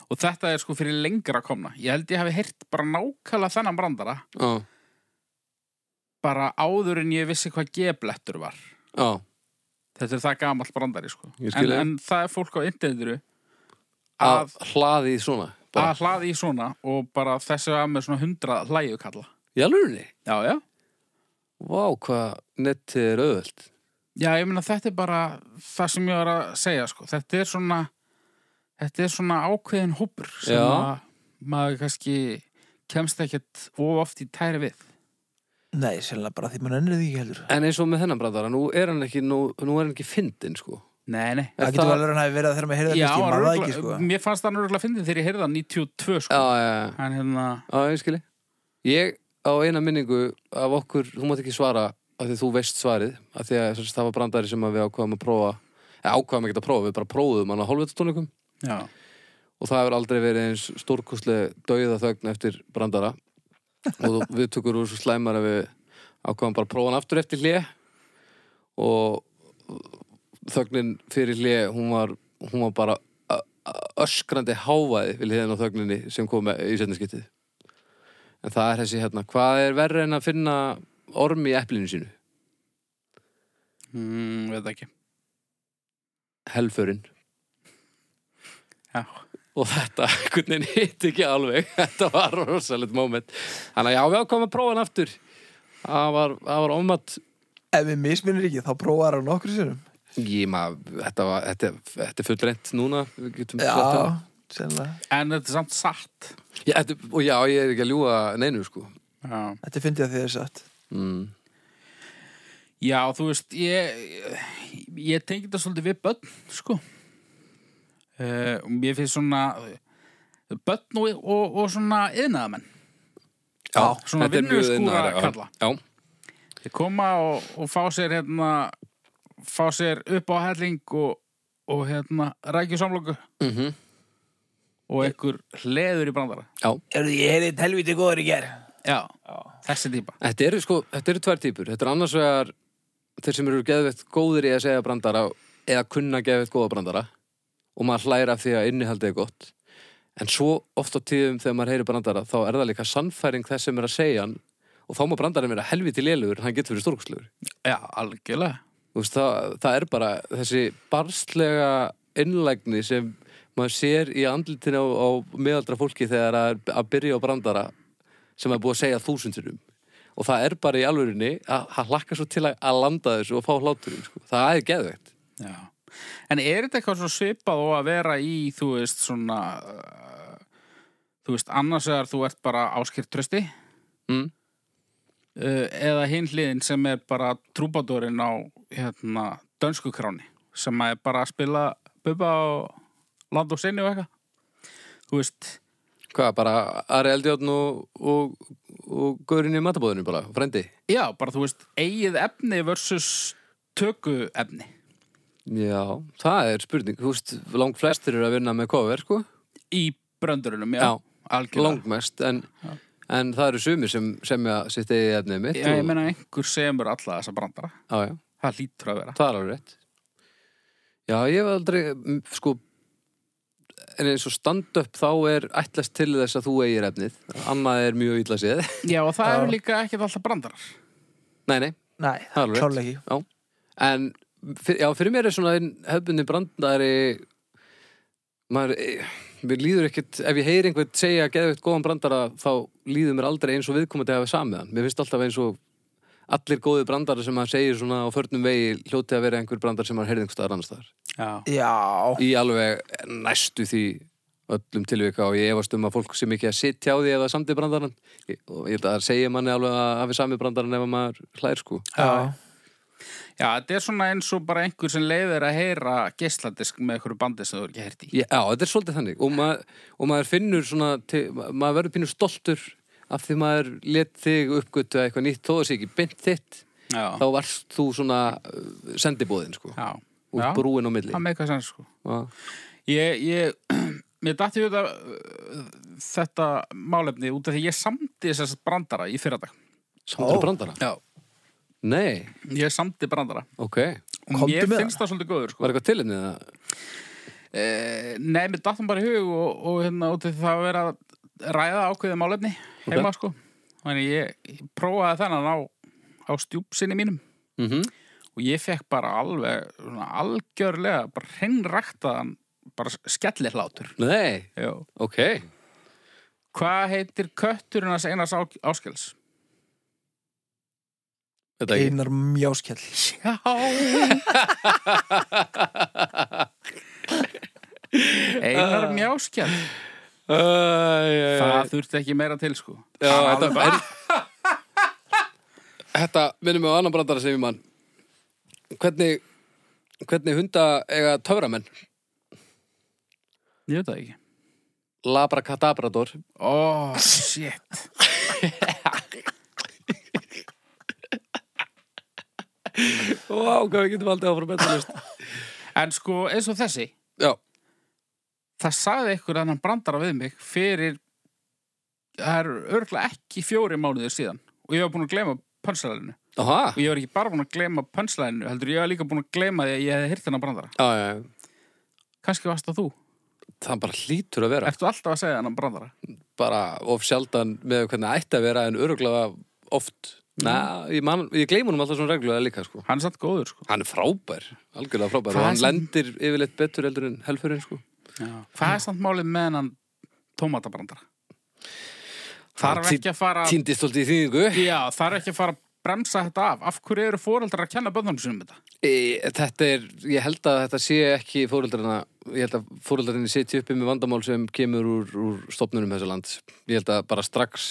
og þetta er sko fyrir lengra komna ég held ég hafi heyrt bara nákvæmlega þennan brandara
Já,
bara áður en ég vissi hvað geblettur var
já,
þetta er það gamall brandari sko
Ég skil
en,
þig.
en það er fólk á internetinu
að
að, Ah,
hlaði svona bara.
að hlaði í svona og bara þessu að með svona hundra hlæjukalla
Í alvörunni?
Já, já.
Vá, hvað netti er auðvöld.
Já, ég meina þetta er bara það sem ég var að segja, sko. Þetta er svona, þetta er svona ákveðin hópur sem
Já.
að maður kannski kemst ekkert of oft í tæri við.
Nei, sérlega bara því maður ennir því ekki heldur
En eins og með þennan brandara, nú er hann ekki, nú, nú er hann ekki fyndin, sko.
Nei, nei.
Er
Það getur vel verið að hann hafi verið að þegar maður heyrði
Já,
það fyrst, ég maður það
örugglega-
ekki sko
mér fannst hann örgulega að fyndið þegar ég heyrði hann 92, sko.
Já, já, já,
En hérna,
já, ég skilji. Ég á eina minningu af okkur, þú mátt ekki svara af því þú veist svarið, af því að sem sagt, það var brandari sem að við ákvaðum að prófa, eða ákvaðum ekki að prófa, við bara prófuðum hann á hálfvitaðstónleikum
já.
og það hefur aldrei verið eins stórkostlega dauða þögn eftir brandara og þú- við tökur úr svo slæmar að við ákvæðum bara að prófa hann aftur eftir hlje og þögnin fyrir hlje hún var, hún var bara ö- ö- öskrandi hávaði við hliðin á þögninni sem kom með- í setniskiptið en það er þessi hérna hvað er verri en að finna orm í eplinu sínu
Mm, veit ekki.
helförinn
Já.
og þetta einhvern veginn hitt ekki alveg þetta var rosalegt moment þannig að já, við ákvæmum að prófa hann aftur það var, það var ofmatt
Ef við misminir ekki, þá prófaði hann nokkru sinnum
ég maður, þetta var þetta, þetta er fullreint núna við getum
Já,
sagt það.
sérlega
En þetta er samt satt.
já, þetta, og já, ég er ekki að ljúga neinu sko
Já.
Þetta er fyndið að því þess að
mm.
Já, þú veist, ég, ég tengi þetta svolítið við börn, sko. Uh, mér finnst svona eh, börn og, og, og svona yðnaðamenn.
já,
svona
þetta er mjög
vinnuskúra
iðnaðar- já.
kalla.
já,
Þeir koma og, og fá sér hérna, fá sér upp á helling og, og hérna rækju samlokku
mm
og einhver hleður í brandara.
já
Erðu, ég heyrði helviti góður í ger
Já, þessi típa.
Þetta eru sko, þetta eru tvær típur Þetta eru annars vegar þeir sem eru geðveitt góðir í að segja brandara eða kunna geðveitt góða brandara og maður hlæra af því að innihaldið er gott en svo oft á tíðum þegar maður heyri brandara þá er það líka sannfæring þess sem er að segja hann og þá má brandarinn vera helviti lélugur en hann getur verið stórkustlegur
Já, algjörlega.
veist, það, það er bara þessi barslega innlægni sem maður sér í andlutinu á, á meðaldra fólki þegar að, að byrja á brandara sem er búið að segja þúsundurum og það er bara í alvörinni að hann hlakkar svo til að, að landa þessu og fá hláturinn sko. það er geðveikt
Já. En er þetta eitthvað svona svipað og að vera í, þú veist, svona, uh, þú veist, annars vegar þú ert bara áskýrt trösti
mm.
uh, eða hinn hliðin sem er bara trúbadorinn á, hérna, dönsku kráni sem að er bara að spila bubba á land og sinni og eitthvað. Þú veist,
hvað, bara Ari Eldjórn og, og, og Gaurin í matabóðinu bara, frendi
já, bara þú veist, eigið efni versus töku efni.
já, það er spurning, þú veist langt flestir eru að vinna með cover sko
Í bröndurunum, já,
Já.
algjörlega.
langmest en, en það eru sumir sem semja sitt eigið efnið mitt
Já, ég
og-
meina einhver semur alla þessa brandara.
Já, já,
Það lítur að vera.
það er alveg rétt Já, ég hef aldrei mm, sko en eins og stand-up þá er ætlast til þess að þú eigir efnið annað er mjög illa séð
Já, og það
Já.
eru líka ekkert alltaf brandarar.
Nei, nei,
Nei,
Það er alveg rétt.
klálega ekki
já En fyr, já, fyrir mér er svona hefbundi brandari maður eh, mér líður ekkit, ef ég heyri einhvern segja geðveikt góðan brandara þá líður mér aldrei eins og viðkomandi hafa samið hann mér finnst alltaf eins og allir góði brandara sem maður segir svona á förnum vegi hljóti að vera einhver brandar sem maður heyrði einhver staðar annars staðar
Já.
Já,
í alveg næstu því öllum tilvika og ég efast um að fólk sem ekki að sitja á því eða samdi brandarann Ég- og ég held að það segja manni alveg að hafi sami brandarann ef að maður hlær sko
já,
Já, þetta er svona eins og bara einhver sem leiðir að heyra geisladisk með einhverju bandi sem þú er ekki heyrt í.
Já, þetta er svolítið þannig og, mað, og maður finnur svona til, ma- maður verður pínu stoltur af því maður let þig uppgötu að eitthvað nýtt þó þessi ekki beint þitt þá
Já.
varst þú svona uh, sendibóðin sko
Já.
úr
Já.
brúin á milli
Það með eitthvað sann, sko.
Já.
Ég, ég, mér dætti þetta, uh, þetta málefni út af því ég samdi þessast brandara í fyrradag.
Samdur
Ó.
brandara?
Já.
Nei,
Ég samdi brandara.
ok Var
Og
Komdu
mér
með
finnst það svolítið góður, sko.
eitthvað tilinn eða?
Eh, nei, mér dættum bara í hug og, og hérna út af því það að vera að ræða ákveðið málefni heima, sko. Þannig ég, ég prófaði þennan á, á stjúpsinni mínum.
Mm
Mhm. og ég fekk bara alveg svona, algjörlega, bara hreinræktaðan bara skellir hlátur
Nei,
Já.
ok
Hvað heitir kötturinn hans Einars Á- Áskels?
Þetta ekki.
Einar mjáskjall
Já Einar mjáskjall
Æ, æ, æ.
Það þurfti ekki meira til sko
Já, þetta er... Þetta minnum við á annan brandara sem ég mann. Hvernig, hvernig hunda eiga töframenn?
Ég veit það ekki
Labrakadabrador.
Ó, shit
Vá, hvað við getum aldrei áfram betalist.
En sko, eins og þessi
Já,
Það sagði einhver annan brandara við mig fyrir Það er örglega ekki fjóri mánuðir síðan og ég var búin að gleyma pönslæðinu
aha.
og ég var ekki bara búin að gleyma pönslæðinu heldur ég var líka búin að gleyma því að ég hefði hýrt hennar brandara
Já, já, já.
Kannski varst það þú
Það bara hlýtur að vera.
Ertu alltaf að segja hennar brandara?
Bara of sjaldan með hvernig ætti að vera en öruglega oft. Næ, ég, man, ég gleym honum alltaf svona reglulega líka, sko.
Hann er satt góður sko
Hann er frábær, algjörlega frábær og
Hvað
hann
sem-
lendir yfirleitt betur heldur en helfurinn, sko.
Já. Hvað er samt málið með hennan tómatabrandara? Þarf
Tí-
ekki að fara
Týndist alltaf í þýðingu.
Já, þarf ekki að fara að bremsa þetta af Af hverju eru fóreldrar að kenna bönnum sínum um þetta?
E, Þetta er, ég held að þetta sé ekki fóröldarina, ég held að fóröldarinn sitja uppi með vandamál sem kemur úr, úr stopnunum þessa lands. Ég held að bara strax,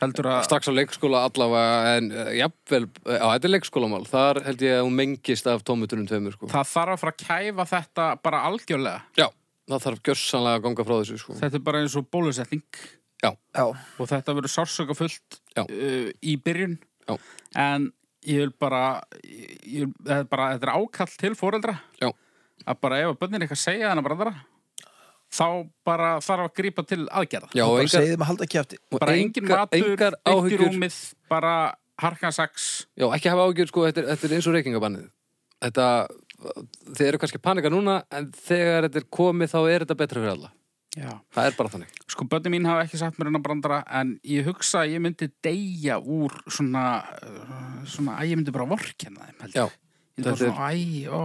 Heldur að
strax á leikskóla allavega, en eh, jafnvel, eh, á þetta er leikskólamál, þar held ég að hún mengist af tómutunum tveimur, sko.
það þarf að fara að kæfa þetta bara algjörlega
Já, það þarf gjörsanlega að ganga frá þessu, sko.
Þetta er bara eins og bólusetning
Já,
og þetta verður sársöka fullt
Já.
uh, í byrjun
Já.
en ég vil bara, ég, ég- þetta, er bara þetta er ákall til fóreldra
Já.
að bara ef að bönnin eitthvað segja þannig brandara þá bara þarf að grípa til aðgerða
Já,
og
og
bara
engar,
segið þeim að halda kjæfti
og
bara engin
engar-
matur,
engar
ekki
áhyggjur.
rúmið bara harkansaks
Já, ekki hafa ágjör, sko, þetta er, þetta er eins og reykingabannið. Þetta, þið eru kannski að panika núna, en þegar þetta er komið þá er þetta betra fyrir alla.
Já.
Það er bara þannig.
sko bönni mín hafa ekki sagt mér hennar brandara en ég hugsa að ég myndi deyja úr svona, uh, svona að ég myndi bara vorkenna þeim held
Já.
ég Ég
Þetta
myndi bara svona, æ, ó,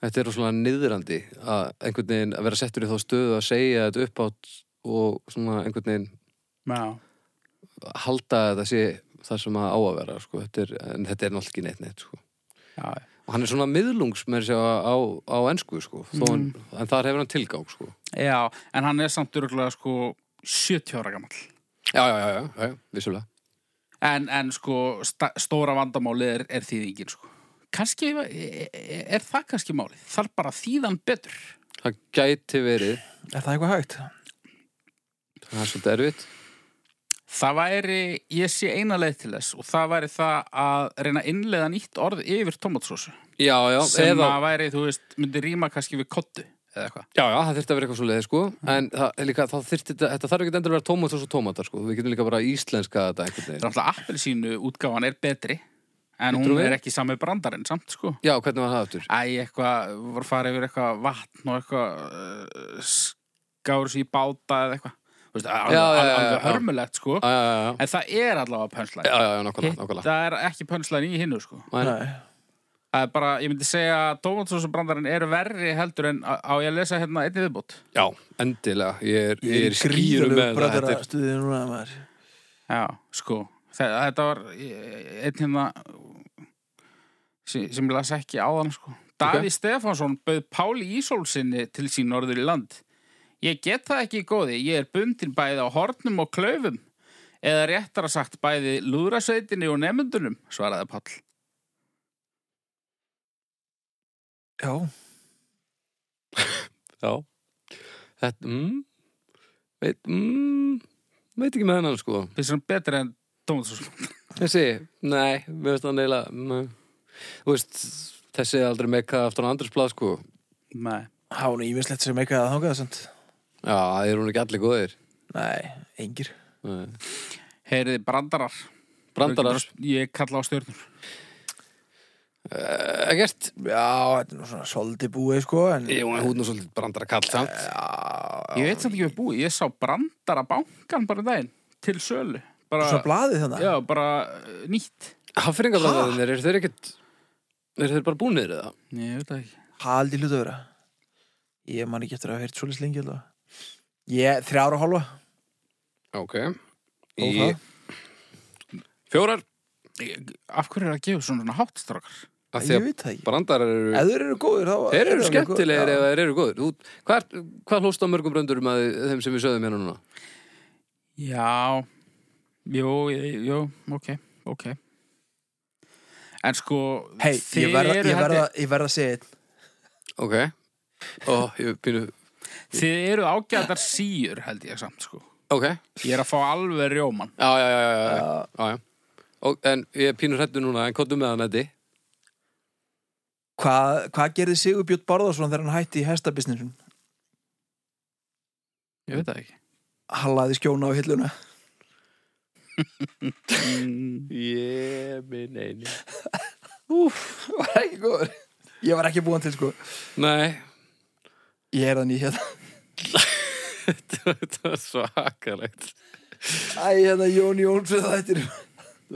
Þetta er svona niðrandi að einhvern veginn að vera settur í þá stöðu að segja þetta upp átt og svona einhvern veginn
já
halda að þetta sé þar sem að á að vera sko. þetta er, en þetta er náttúrulega ekki neitt neitt sko.
Já,
og hann er svona miðlungs með sér á, á ennsku sko. Þó hann, en þar hefur hann tilgang sko.
Já, en hann er samt örgulega sko 70 ára gammal.
já, já, já, já, já, já, vissulega
En, en sko sta- stóra vandamáli er, er þýðingin sko. Kanski, e, er það kannski málið? Þarf bara að þýða hann betur.
það gæti verið,
Er það eitthvað hægt?
það er svolítið erfitt
Það væri, ég sé eina leið til þess og það væri það að reyna að innleiða nýtt orð yfir tomatsósu.
já, já,
Sem
eða
að væri, þú veist, myndi rýma kannski við kottu eða eitthvað.
Já, já, það þurfti að vera eitthvað svo leiði, sko En það, er líka, það þyrfti, þetta þetta þarf ekki endur að vera tómatar og tómatar, sko Við getum líka bara íslenska þetta einhvern
Það er
veginn
alltaf appelsínu útgáfan er betri en
Getur
hún
við?
er ekki sami brandarinn samt sko.
Já, hvernig var það aftur?
Æ, eitthvað, voru farið yfir eitthvað vatn og eitthvað uh, skáru sér í báta eða eitthvað. Þú veist, alveg,
Já, já,
alveg,
já, já,
alveg
já.
hörmulegt, sko.
Já, já, já, já.
En það er allavega pönslæn.
já, já, já, nákvæmlega, nákvæmlega
Það er ekki pönslæn í hinnu, sko.
Nei,
Nei,
Það er bara, ég myndi segja að tómatsósubrandarinn er verri heldur en á á ég að lesa hérna einnig viðbútt.
já, endilega Ég er,
ég
ég er skýrum með það
bræður
þetta
að
er,
stuðið núna maður.
Já, sko. Það, þetta var eh, einn hérna sem, sem ég las ekki áðan, sko. Davíð Stefánsson bauð Páli Ísólsinni til sín norður í land. Ég get það ekki í góði, ég er bundin bæði á hornum og klaufum eða réttara sagt bæði lúðrasveitinni og nefndunum, svaraði Páll.
Já,
Já Þetta, mm, veit, mm, veit ekki með hennan, sko
Finnst hann betri en Tómasson?
Þessi, nei, við veist það neila nei. mm, Þú veist, þessi er aldrei mekka aftur á andrasblað, sko
Nei.
há hún ímislegt sem eitthvað að þangað samt.
Já, það eru hún ekki allir góðir
Nei, engir.
Nei.
Heyriði brandarar.
Brandarar,
Ég kalla á stjórnur.
ekkert
Já, þetta er nú svona svolítið búið sko, en...
Jú, en hún er svolítið brandara kall samt.
Já,
Ég veit samt ekki við búið, ég sá brandara bankan bara um daginn til sölu. Bara,
svona blaðið þannig.
Já, bara uh, nýtt.
Hafringabrandarinnir, eru þeir ekkert eru þeir bara búnir eða?
Nei, ég veit það ekki.
Haldi hlut að vera Ég man ekki eftir að hafa heyrt svolítið lengi alveg Ég, þrjára og hálfa
Ok
Ó, það.
Fjórar
Eh, Af hverju er að gefa svona hátt strákar?
Af því
Ég
að
veit það ekki
brandar eru
Ef þeir eru góðir þá
Þeir eru
alveg
skemmtilegir
góðir.
ef þeir eru góður Þú, Hvað, hvað hlóst á mörgum bröndurum að þeim sem við sögðum hérna núna?
Já, jú, ég- jú, ok, ok. En sko,
Hei, ég verða ég
held
verð, ég verð að segja einn
Ok Ó, ég pínu
þið eru ágæðar síur, held ég samt, sko.
Ok, já,
Ég er að fá alveg rjóman.
já, já, já, já,
Já,
já, já. Og, En ég er pínu hrættu núna En kottum með hann þetta
Hvað hvað gerði Sigurbjörn Barðarsson þegar hann hætti í hestabisnesum?
Ég veit það ekki.
Hallaði skjóna á hilluna
Mm,
Ég minn einu
Úf, var ekki góður Ég var ekki búin til sko
Nei,
Ég er þannig hérna
þetta var svakalegt
Æ, hérna Jón Jónsson þættir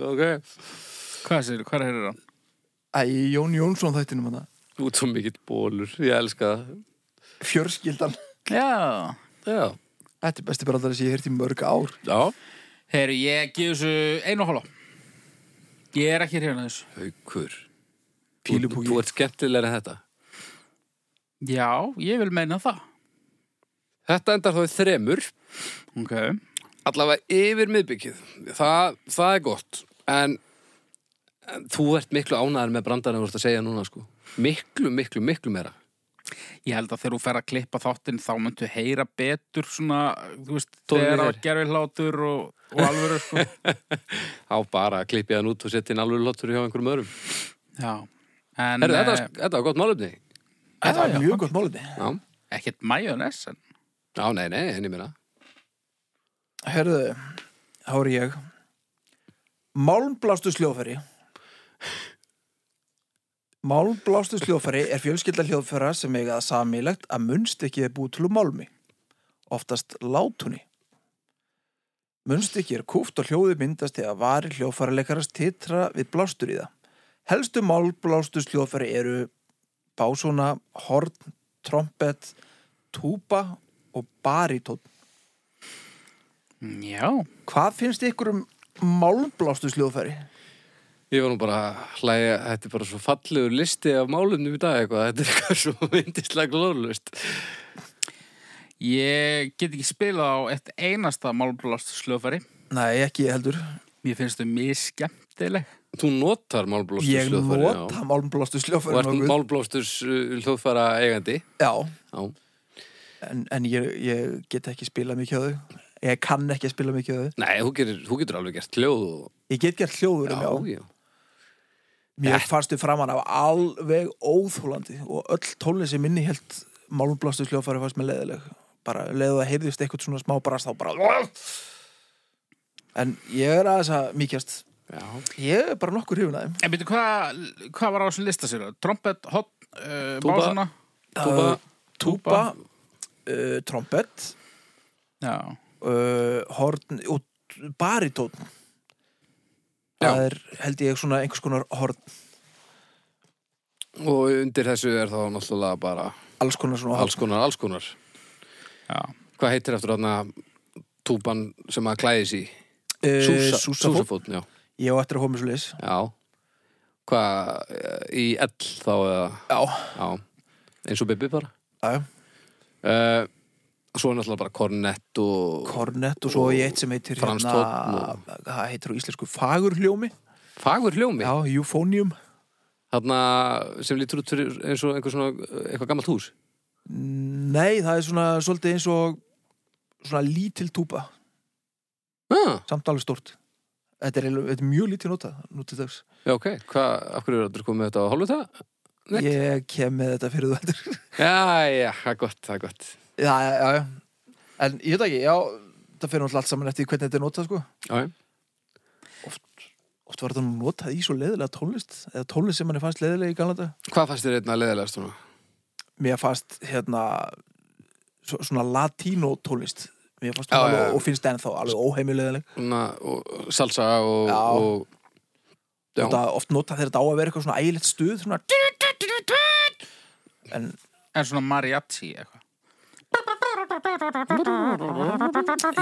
Ok,
hvað sér, hvað er hann?
Æ, í Jón Jónsson þættinum hérna. hann
þú ert svo mikill bólur Ég elska það
Fjörskildan
Já.
Já,
Þetta er besti brandari sem ég hérti í mörg ár
já
Heyri, ég gef þessu einu og hálfa. Ég er ekki hrifin að þessu.
Haukur
Fýlupúki.
Þú, þú ert skemmtilegir en þetta
Já, ég vil meina það.
Þetta endar þá í þremur
Ok.
allavega yfir miðbyggið það, það er gott en, en þú ert miklu ánæður með brandarinn þú ert að segja núna sko miklu, miklu, miklu meira
Ég held að þegar þú fer að klippa þáttinn þá myndu heyra betur svona, þú veist,
Tónlið
þegar
er.
að gerfi hlátur og, og alvöru, sko.
á bara að klippja hann út og setja inn alveg lottur hjá einhverjum öðrum
Já. En
Heru, þetta,
eh,
var- þetta var gott málefni
Þetta
já,
var
já,
mjög gott málefni
já,
ekkert majónes, en
já nei, nei, en ég meina
Herðu, þá er ég Málmblástu sljófæri Málmblástu sljófæri er fjölskylda hljóðfæra sem eiga það samilegt að munnstykkið er búið til úr málmi oftast látunni Munnstykkið er kúft og hljóði myndast þegar varir hljóðfæraleikarast titra við blástur í það Helstu málmblástu sljófæri eru básúna, horn, trompet, túpa og barítótt
já.
Hvað finnst ykkur um málmblástu sljóðfæri?
ég var nú bara að hlæja, þetta er bara svo fallegur listi af málefnum í dag eitthvað þetta er eitthvað svo myndislega glóðlust
Ég get ekki spilað á eitt einasta málblast slöfari.
Nei, ekki ég heldur.
Mér finnst þau mjög skemmtileg.
þú notar málblóstur
Ég nota
og
málmblástu
ert
sljóðfæri nokkuð.
málblóstur hljóðfæra eigandi
Já,
já,
en, en ég, ég get ekki spilað mikið á þau. Ég kann ekki að spila mikið á þau.
nei, þú getur, þú getur alveg gert hljóð og
Ég get gert hljóður um já.
já, Eh. já.
Mér fannst þau framan af alveg óþúlandi og öll tónlið sem inni held málmblástu sljóðfæri fannst mér leðileg. Bara leðu að heyrðist eitthvað svona smá brast þá bara... En ég er aðeins að mýkjast.
Já.
Ég er bara nokkur hrifun að þeim.
En byrju, hvað hva var á þessum lista sér? Trompet, hot, uh,
Túba.
básuna?
Túba.
Uh, Túpa, uh, trompet,
Já.
uh, horn og baritón það er held ég svona einhvers konar horn
Og undir þessu er þá náttúrulega bara
alls konar svona horn
alls konar, alls konar.
Já.
Hvað heitir eftir þarna túpan sem að klæði sig?
Eh,
Súsa,
Súsafónn.
súsafónn, já.
ég á eftir að hómi svo leis
Já. Hvað, eh, í ell þá eða,
já,
já, eins og Bibi bara.
já,
Uh, svo er náttúrulega bara kornett og
kornett og svo ég eitt sem heitir
Franskt
hérna,
horn
það heitir á íslensku fagurhljómi
fagur hljómi.
já, euphonium
Þarna sem lítur út fyrir eins og einhver svona, eitthvað gammalt hús.
nei, það er svona svolítið eins og svona lítil túpa
Ah,
samt alveg stort þetta er, eiginlega- þetta er mjög lítið nota nútið dags
já, ok. Hvað, af hverju er þetta komið með þetta á hálfu það? Nett.
ég kem með þetta fyrir þú heldur
Já, já, það er gott, það er gott.
já, já, já, já en ég veit ekki, já, það fyrir náttúrulega allt saman eftir því hvernig þetta er notað sko
Já, já.
oft var þetta nú notað í svo leiðilega tónlist eða tónlist sem manni fannst leiðilega í galanda
Hvað fannst þér einna leðilegast svona?
mér fannst hérna svo, svona latínó tónlist mér fannst
Já,
hún
já, já.
alveg, og finnst það ennþá alveg óheimilegileg
Na, og, salsa og,
Já.
og já,
þetta oft notað þegar þetta á að vera eitthvað svona ægilegt stuð svona en
En svona mariachi eitthvað.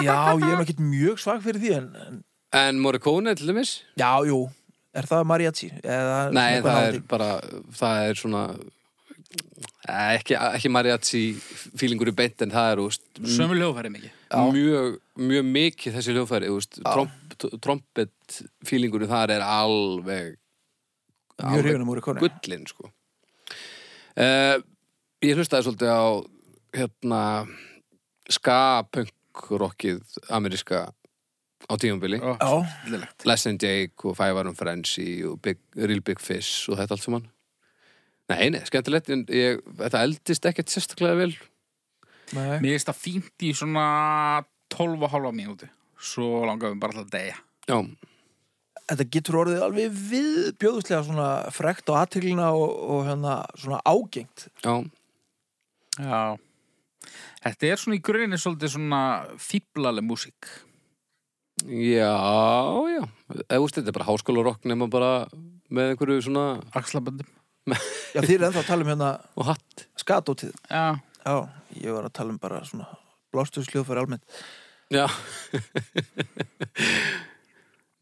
já, ég er nú ekkert mjög svag fyrir því en, en
en Morricone til dæmis
já, jú Er það mariachi? Eða,
Nei, en
eitthvað
það er
hátíð?
bara, það er svona eh, ekki, ekki mariachi fílingur í beint en það er úst,
Sömu hljófæri mikið.
mjög, mjög mikið þessi hljófæri úst, tromp, trompet fílingur þar er alveg
Mjög
alveg
hrifin um úr í konu
gullin sko. uh, ég hlustaði svolítið á hérna ska punk rockið ameríska á tíumbili
Ó,
Já,
Lillegt.
Less than Jake og Five Iron Frenzy og Big, Real Big Fish og þetta allt saman Nei, nei, skemmtilegt en ég, þetta eldist ekkert sérstaklega vel
nei
Mér finnst það fínt í svona 12 og halva mínúti. Svo langar við bara alltaf að deyja.
Já,
Þetta getur orðið alveg viðbjóðslega svona frekt og aðtýrlina og, og hérna svona ágengt
já,
Já. Þetta er svona í grunni svolítið svona fíblaleg músík.
já, já Eða úst, þetta er bara háskólarokk nema bara með einhverju svona
Axlaböndum.
Já, þið er ennþá að tala um hérna
og hatt
skatótið
Já.
Já, ég var að tala um bara svona blástuðsljóðfæri almennt
Já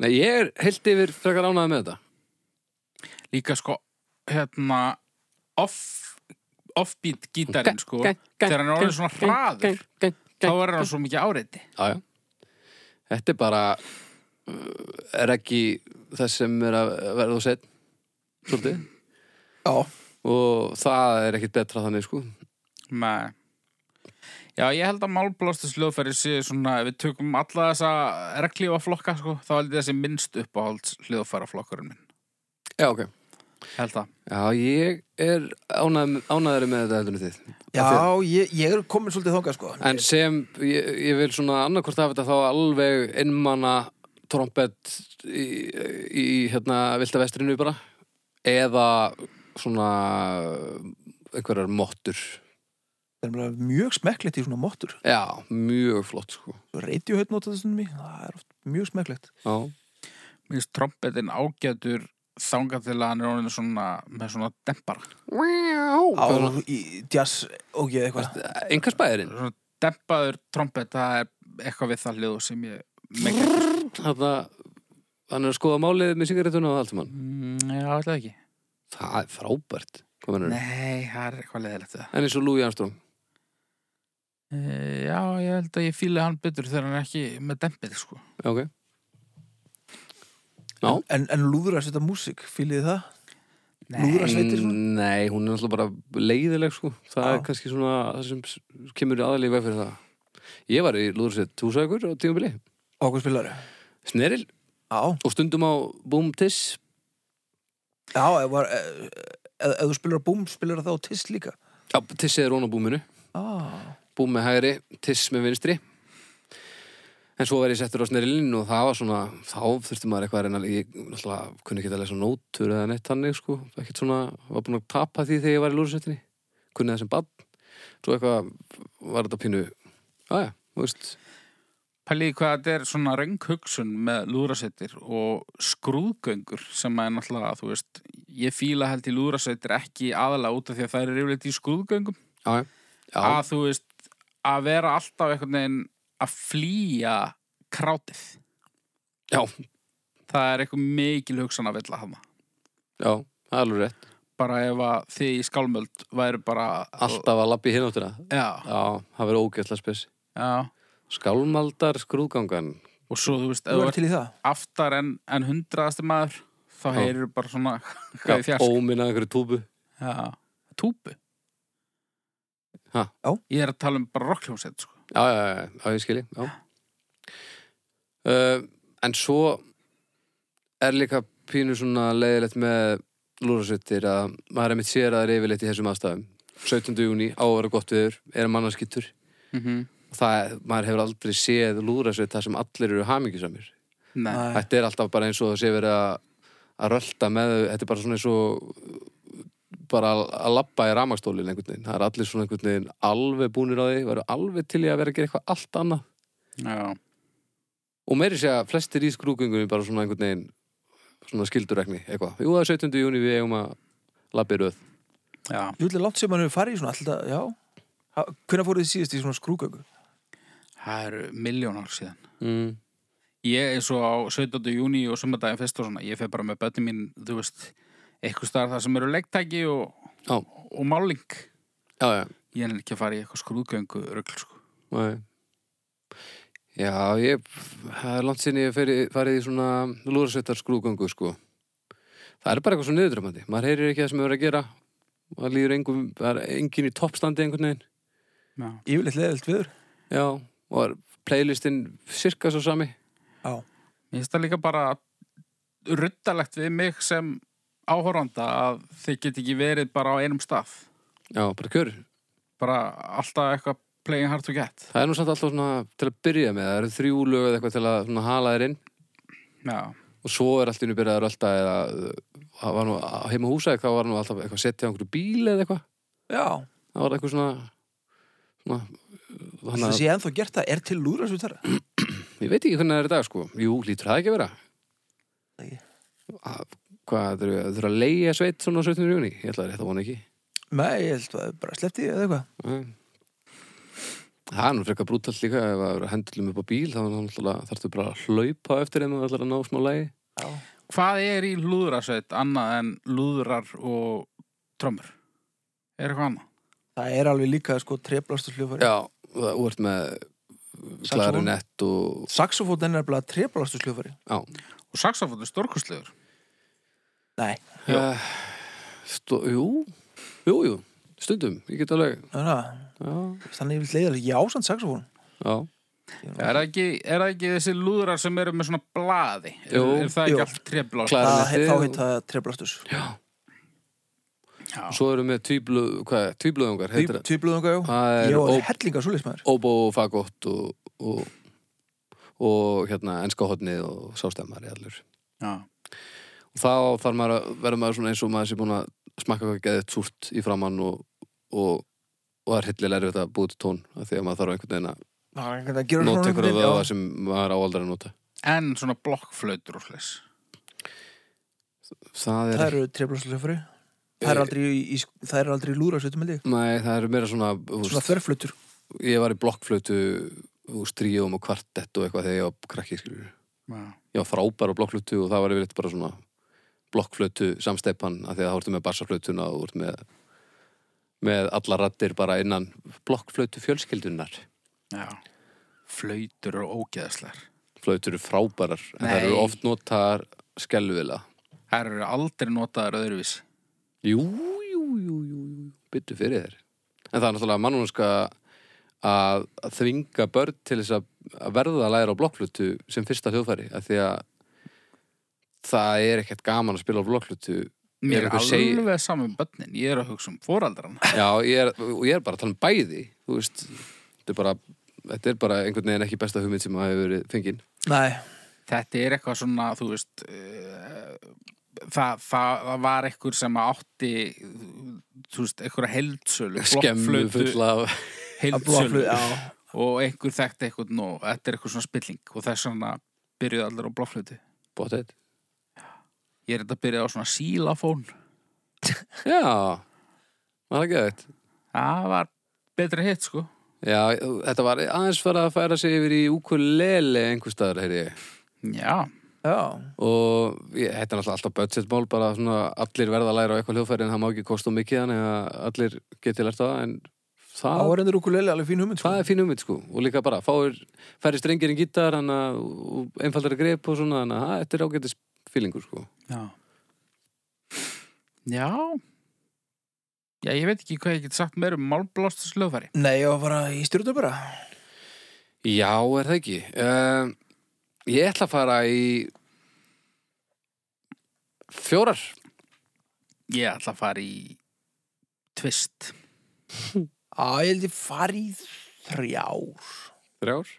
Nei, ég er heilt yfir frekar ánæði með þetta
Líka sko, hérna, off, offbeat gítarinn sko. Þegar hann er orðið svona hraður, þá er hann svo mikið áreiti.
Já, já. Þetta er bara uh, er ekki það sem er að verða og sett svolítið
Já,
og það er ekkit betra þannig sko
Nei. Já, ég held að málblástis hljóðfæri séu svona, ef við tökum alla þessa reglífa flokka, sko, þá held ég þessi minnst uppáhalds hljóðfæra flokkurinn minn.
Já, ok
Held það.
Já, ég er ánæð, ánæðari með þetta heldur en þið
já ég, ég er komin svolítið þangað sko
En sem, ég, ég vil svona annarkvort hafa þetta þá alveg innmanna trompet í, í hérna vilda vestrinu bara eða svona einhverjar mottur
Það er nefnilega mjög smekklegt í svona móttur
Já, mjög flott sko
Radiohead nota þessum mig, það er oft mjög smekklegt
Já,
Mér finnst trombetin ágætur þangað til að hann er orðin svona, með svona dempara.
Á,
Hvað er það?
í jazz og ég eitthvað
Enga spæðirinn
Svona dempaður trombet, það er eitthvað við það hljóð sem ég megar.
Þarna, hann er að skoða málið með sigarettuna og allt um hann
Mm, já, alltaf ekki.
Það er frábært Hvað mennur
Nei, það er eitthvað leðilegt það.
En eins og Louis Armstrong
Eh, Já, ég held að ég fíli hann betur þegar hann er ekki með dempið, sko.
Já, ok Já
En, en lúður að setja músík, fylgið þið það? Lúðra
Nei,
sveitir svona?
Mm, Nei, hún er alltaf bara leiðileg sko. Það
Já.
er kannski svona það sem s- kemur aðalega í veg fyrir það Ég var í lúðursveit túsækur á tímabili
Á hvað spilaru?
Sneril
Já,
og stundum á Boom Tiss
já, ef, var, ef, ef, ef þú spilar búm, spilar það á tiss líka
Já, Tiss er róna búminu
ah.
Búm með hægri, Tiss með vinstri En svo var ég settur á snerilinn og það var svona, þá þurfti maður eitthvað að reyna Ég náttúrulega kunni ekki að lesa nótur eða neitt hannig sko Ekkert svona, var búin að tapa því þegar ég var í lúðursveitinni Kunni það sem bann Svo eitthvað var þetta pínu Jæja, þú veist
Pæliði hvað þetta er svona röng hugsun með lúðrasettir og skrúðgöngur sem að er náttúrulega, þú veist, ég fíla held í lúðrasettir ekki aðalega út af því að það er yfirleitt í skrúðgöngum.
Já, já. já.
Að þú veist, að vera alltaf einhvern veginn að flýja krátið.
já,
Það er eitthvað mikil hugsun að vilja hana.
já, það er alveg rétt
Bara ef að þið í skálmöld væri bara...
Alltaf að lappi hináttina
Já,
Já, það verður ógætla spes
já.
Skálmaldar skrúðgangan
Og svo, þú veist, ef
Þú
þú
er
ert
til í það?
aftar en, en hundraðasti maður, þá
Já.
heyrir bara svona hvað í fjarska.
Óminna einhverju túbu
Já, túpu
Ha?
Já.
Ég er að tala um bara rockljómsveit sko.
já, já, já, já, ég skilji já. Uh, en svo er líka pínu svona leiðilegt með lúrasveitir að maður er mitt sér að það er yfirleitt í þessum aðstæðum 17. júni á að vera gott viður er mannarskittur
mm -hmm.
það, maður hefur aldrei séð lúrasveit þar sem allir eru hamingisamir
Nei,
Nei.
þetta er alltaf bara eins og það sé verið að að rölda með þau, þetta er bara svona eins og bara að- að labba í ramagstólin einhvern veginn, það er allir svona einhvern veginn alveg búnir á því, varu alveg til í að vera að gera eitthvað allt annað
já,
og meiri sé að flestir í skrúkungunum bara svona einhvern veginn svona skildurekni eitthvað, jú það er 17. júni við eigum að labbi röð,
já
Þú vilja langt sem hann hefur farið í svona alltaf, já Hvernig fóruð þið síðast í svona skrúgöngu?
Það eru miljónar síðan
mm.
ég er svo á 17. júni og sumardaginn fyrst og svona, ég fer bara með bönni mín, þú veist, eitthvað starf það sem eru legtæki og,
Já.
og máling.
já, já,
Ég er ekki að fara í eitthvað skrúðgöngu rögl, sko.
nei. Já, ég, það er langt sinni ég feri, farið í svona lúrasvettar skrúðgöngu, sko. Það er bara eitthvað svo niðurdrömmandi. Maður heyrir ekki það sem er verið að gera. Maður líður engum, það er engin í toppstandi einhvern veginn.
Já.
Yfirleitt leðilt viður.
Já, og er playlistin sirka svo sami.
Já.
Mér finnst það líka bara ruttalegt við mig sem áhorfanda að þið get ekki verið bara á einum stað.
Já, bara kjör.
Bara alltaf eitthvað playing hard to get.
Það er nú samt alltaf svona til að byrja með. Það eru þrjú lög eða eitthvað til að svona, hala þér inn.
Já,
og svo er allt innu byrjaður alltaf eða uh, það var nú á heima húsæk þá var nú alltaf eitthvað setja á einhverju bíl eða eitthvað
Já.
það var eitthvað svona, svona uh,
Það
þannig
sé ennþá gert það. Er til lúðrasvitar?
að ég veit ekki hvernig það er í dag sko jú, lítur það ekki að vera
Ekki.
Að- hvað, þurfa þurfa að leiða sveit svona á 17. júni, ég ætla að rétt að vona ekki
Nei, ég held að bara sleppti eða eitthvað.
Nei. það er nú frekar brútalt líka ef að hendlum upp á bíl þá náttúrulega þarftu bara að hlaupa eftir þeim og ætlar að ná smá lagi
Já.
Hvað er í lúðrasveit annað en lúðrar og trömmur? Er eitthvað annað?
Það er alveg líka sko trefblastursljófari.
já, og það- þú ert með klarinett og
Saxofón er nefnilega trefblastursljófari.
já,
Og saxofóttu stórkustlegur.
Nei.
Já.
Uh, stó, jú, jú, jú, stundum, ég get alveg,
Þannig
já,
að ég vil leiða já, sann saxofón.
já,
Er það ekki, er það ekki þessi lúðrar sem eru með svona blaði? Er,
Jú.
er það ekki
Jú.
allt treflátt?
Klar.
Það,
Klarinetti
þá
og-
heit það trefblasturs.
Já.
svo erum við tvíblu, hvað er, tvíbluðungar, heitir það,
Tvíblöðunga, já.
það
Ég
er
var
ó,
hellinga svoleiðis maður.
óbó og fagott og, og, og hérna ennskahotnið og sástemmari allur.
Já.
Og þá þarf maður að vera maður svona eins og maður sé búin að smakka hvað geðið súrt í framann og, og, og það er hillilega erfitt að búið til tón, af því að maður þarf einhvern veginn að
Það gerur svona
nota ykkur af
einhvern veginn,
vöða
já.
sem maður áaldar að nota.
En svona blokkflautur og slis.
Það
Það
er,
eru trefblastursljófari. Það er aldrei í, í, það er aldrei í lúðrasvitum, held ég.
nei, það er meira svona, þú
Svona
veist,
þverflutur.
ég var í blokkflötu úr stríum og kvartett og eitthvað þegar ég var krakki skilur.
Já.
Ég var frábær á blokkflötu og það var yfirleitt bara svona blokkflötu samsteipan af því að það vortu með bassaflötuna og vortu með með alla rattir bara innan blokkflötu fjölskyldunar
Já. Flautur og ógeðslegar.
flötur eru frábærar en
Nei.
það eru oft notaðar skelvilega
Það eru aldrei notaðar öðruvísi.
Jú, jú, jú, jú, jú byttu fyrir þér en það er náttúrulega mannúnska að að þvinga börn til þess að að verða að læra á blokkflutu sem fyrsta hljóðfæri af því að það er ekkert gaman að spila á blokkflutu
Mér
Er
er
eitthvað segi-
alveg saman bönnin. Ég er að hugsa um foraldrana.
já, ég er, og ég er bara að tala um bæði þú veist, þetta er bara þetta er bara einhvern veginn ekki besta hugmynd sem að hefur verið fengin
Nei.
Þetta er eitthvað svona, þú veist, uh, það, það, það var einhver sem átti, þú veist, einhverja heldsölu,
skemmu
blokkflautu,
full af
Að búa flug,
heldsölu
já.
og einhver þekkti eitthvað nú, þetta er eitthvað svona spilling og þess vegna byrjuðu allir á blokkflötu.
bóttið
Ég er þetta að byrja á svona sílafón,
já, var ekki þetta
það var betra hitt, sko.
já, þetta var aðeins fara að færa sig yfir í ukulele einhver staðar, heyri ég
Já,
Já.
og ég, þetta er náttúrulega alltaf budgetmál bara svona allir verða að læra á eitthvað hljóðfæri en það má ekki kosta of mikið þannig að allir geti lært á það en
Það
það,
var endur ukulele alveg fín hugmynd, sko.
það er fín ummið sko og líka bara fáir, færri strengir en gítar þannig að- og einfaldari grep og svona þannig að það- þetta er ágætis fílingur sko
já. Já. Já, ég veit ekki hvað ég get sagt meir um málblástus lögfæri.
Nei, ég var bara í stjórnum bara.
Já, er það ekki um, Ég ætla að fara í fjórar
Ég ætla að fara í tvist.
Á, ég held ég fari í þrjár.
Þrjár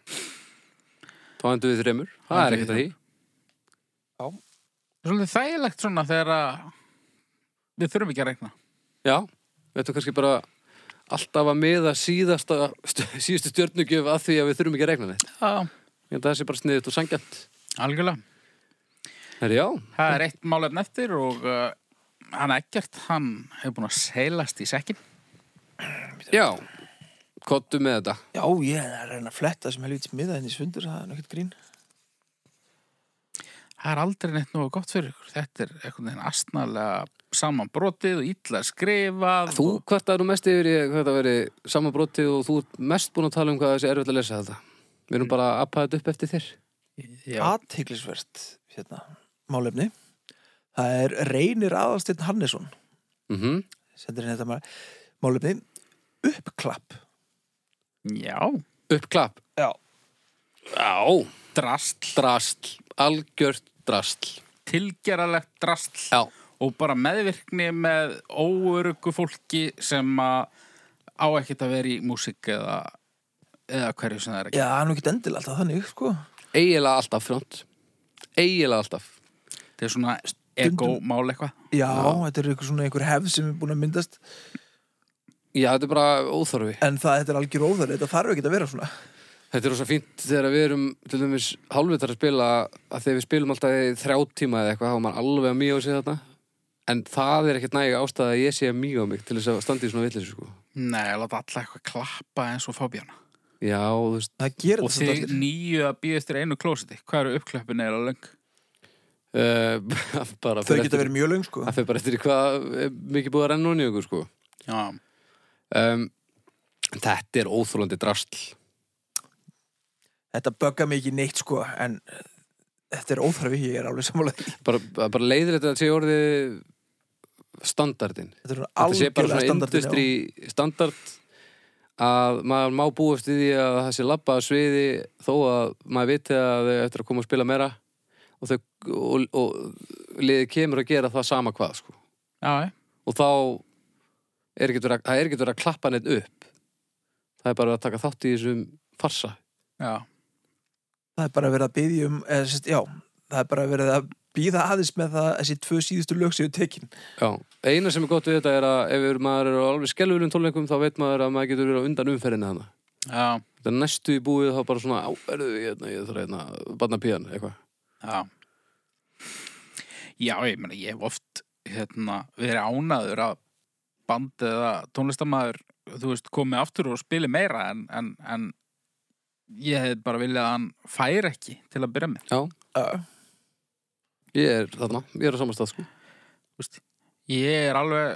Þá endur við þreymur, það er
Endum við
ekkert að því
Svolítið þægilegt svona þegar að við þurfum ekki að rekna.
Já, við ættum kannski bara alltaf að miða síðasta, síðustu stjörnugjöf að því að við þurfum ekki að regna neitt.
Já,
Ég held að það sé bara sniðið og sangjant.
algjörlega.
Herri, já,
Það er eitt málefn eftir og uh, hann ekkert, hann hefur búin að seilast í sekkin.
já, kottu með þetta.
Já, ég er að reyna að fletta sem helvits miða henni sundur, það er nökkert grín.
það er aldrei neitt nógu gott fyrir ykkur. Þetta er einhvern veginn astnalega samanbrotið og illa skrifað.
Þú
og-
kvartaður nú mest yfir í hvað það veri samanbrotið og þú ert mest búin að tala um hvað þessi erfitt að lesa þetta. Við erum bara að appa þetta upp eftir þér.
Já,
aðteglisvert hérna, málefni það er reynir aðalstinn Hannesson
Mm
sendir inn þetta ma- málefni uppklapp
já,
Uppklapp.
Já.
Já.
drastl,
Drastl. Algjört drastl.
tilgeralegt drastl.
Já.
og bara meðvirkni með óörugu fólki sem að á ekkert að vera í músík eða, eða hverju sem það er ekki.
já, það er nú ekki endil alltaf þannig sko.
Eigilega alltaf front. Eigilega alltaf.
Þetta er svona ego-mál eitthvað.
já, þetta er ykkur svona einhver hefð sem er búin að myndast
Já, þetta er bara óþorfi.
en það þetta er algjör óþar þetta þarf ekki að vera svona
Þetta er rosa fínt þegar við erum til dæmis hálfvitar að spila að þegar við spilum alltaf í þrjá tíma eða eitthvað þá er maður alveg að mjög á sig þarna en það er ekkert næg ástæða að ég sé mjög á mig til þess að standa í svona villis sko.
Nei, ég láta alla eitthvað klappa eins og fábjörna.
Já, þú veist
það gerir
Og
þetta samt
þið
Mm.
allir
nýju að býða eftir einu klósiti. Hvað eru uppklöppin eða löng?
uh, bara
þau
fer
geta
eftir-
verið mjög löng sko.
Það fyrir bara eftir í hvað er mikið búið að renna hún í okkur sko.
Já,
um, Þetta er óþólandi drastl
þetta bögga mig ekki neitt sko, en eh, þetta er óþarfi ég er alveg sammála því.
bara, bara leiðir þetta að sé orðið standardin
þetta
Þetta
er
sé bara
algjörlega
svona
standardin, já.
industry standard að maður má búast við því að það sé labba að sviði þó að maður viti að þau eftir að koma að spila meira og, þau, og, og liðið kemur að gera það sama hvað sko.
já, já.
og þá er ekki verið að, það er ekki verið að klappa neitt upp það er bara að taka þátt í þessum farsa
já.
það er bara verið að byggja um eða, sérst, já, það er bara verið að býða aðeins með það að þessi tvö síðustu lög séu tekin
Já, eina sem er gott við þetta er að ef er- maður er á alveg skelvulegum tónleikum þá veit maður að maður getur verið á undan umferðinni hana
já.
þetta er næstu í búið þá bara svona áverðu, ég, ég þarf hérna barna pían, eitthvað
Já Já, ég meina, ég hef oft hérna, verið ánaður að band eða tónlistamæður þú veist, komi aftur og spili meira en, en, en ég hef bara viljað að hann fær ekki til að byrja með,
uh,
Ég er þarna, ég er á samastað sko
þú veist ég er alveg,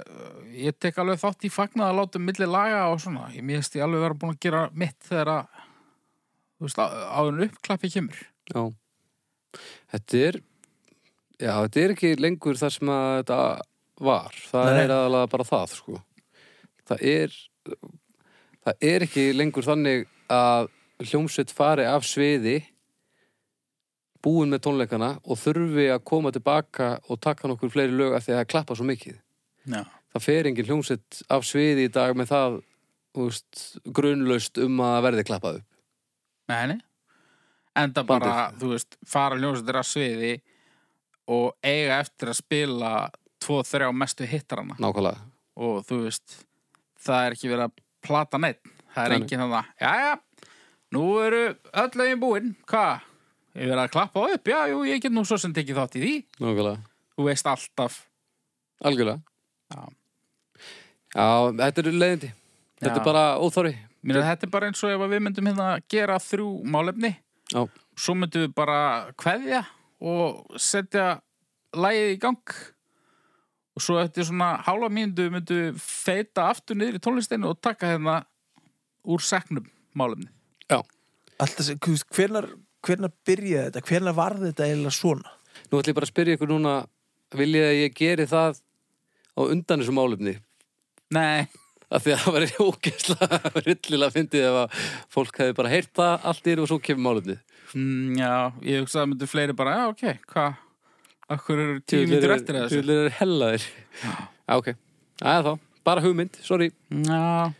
ég tek alveg þátt í fagnað að láta milli laga og svona ég mér veist ég alveg vera búin að gera mitt þegar að þú veist, á- áður en uppklappi kemur
Já Þetta er Já, þetta er ekki lengur þar sem að þetta var Það
Nei, nei.
er aðalega bara það sko Það er Það er ekki lengur þannig að hljómsveit fari af sviði búin með tónleikana og þurfi að koma tilbaka og taka nokkur fleiri lög af því að það klappa svo mikið
Já,
það fer engin hljómsett af sviði í dag með það þú veist, grunlaust um að verði klappað upp
Nei, nei. Enda
Bandið.
bara, þú veist, fara ljónsættir af sviði og eiga eftir að spila tvo, þrjá mestu hittarana.
nákvæmlega,
Og þú veist, það er ekki verið að plata neitt. Það er
Nei, nei.
enginn þannig að, jæja, nú eru öll lögin búin, hvað? Ég verið að klappa þá upp, já, jú, ég get nú svo sem tekið þátt í því.
nákvæmlega
Þú veist alltaf.
algjörlega
Já.
Já, þetta er leiðindi þetta
Já.
er bara óþári
Mér að þetta er bara eins og ef að við myndum hérna að gera þrjú málefni.
Já.
Svo myndum við bara kveðja og setja lagið í gang. Og svo eftir svona hálfa mínútu myndum við feita aftur niður í tónlistinu og taka hérna úr seknum málefni.
alltaf, sem- þú veist, hvenar, hvenar byrjaði þetta hvenar varð þetta eiginlega svona
nú ætlum ég bara að spyrja ykkur núna viljið að ég geri það á undan þessu málefni
Nei,
af því að það var ógeðslega rillilega fyndið ef að fólk hefði bara heyrt það allt yfir og svo kemur málefni
mm, já, ég hugsaði að myndu fleiri bara, já, ok, hvað? Akkur eru tíu mínútur eftir að þessu?
Tjóðlega er hellaðir Já, ok, aðeins þá, bara hugmynd, sorry
Já,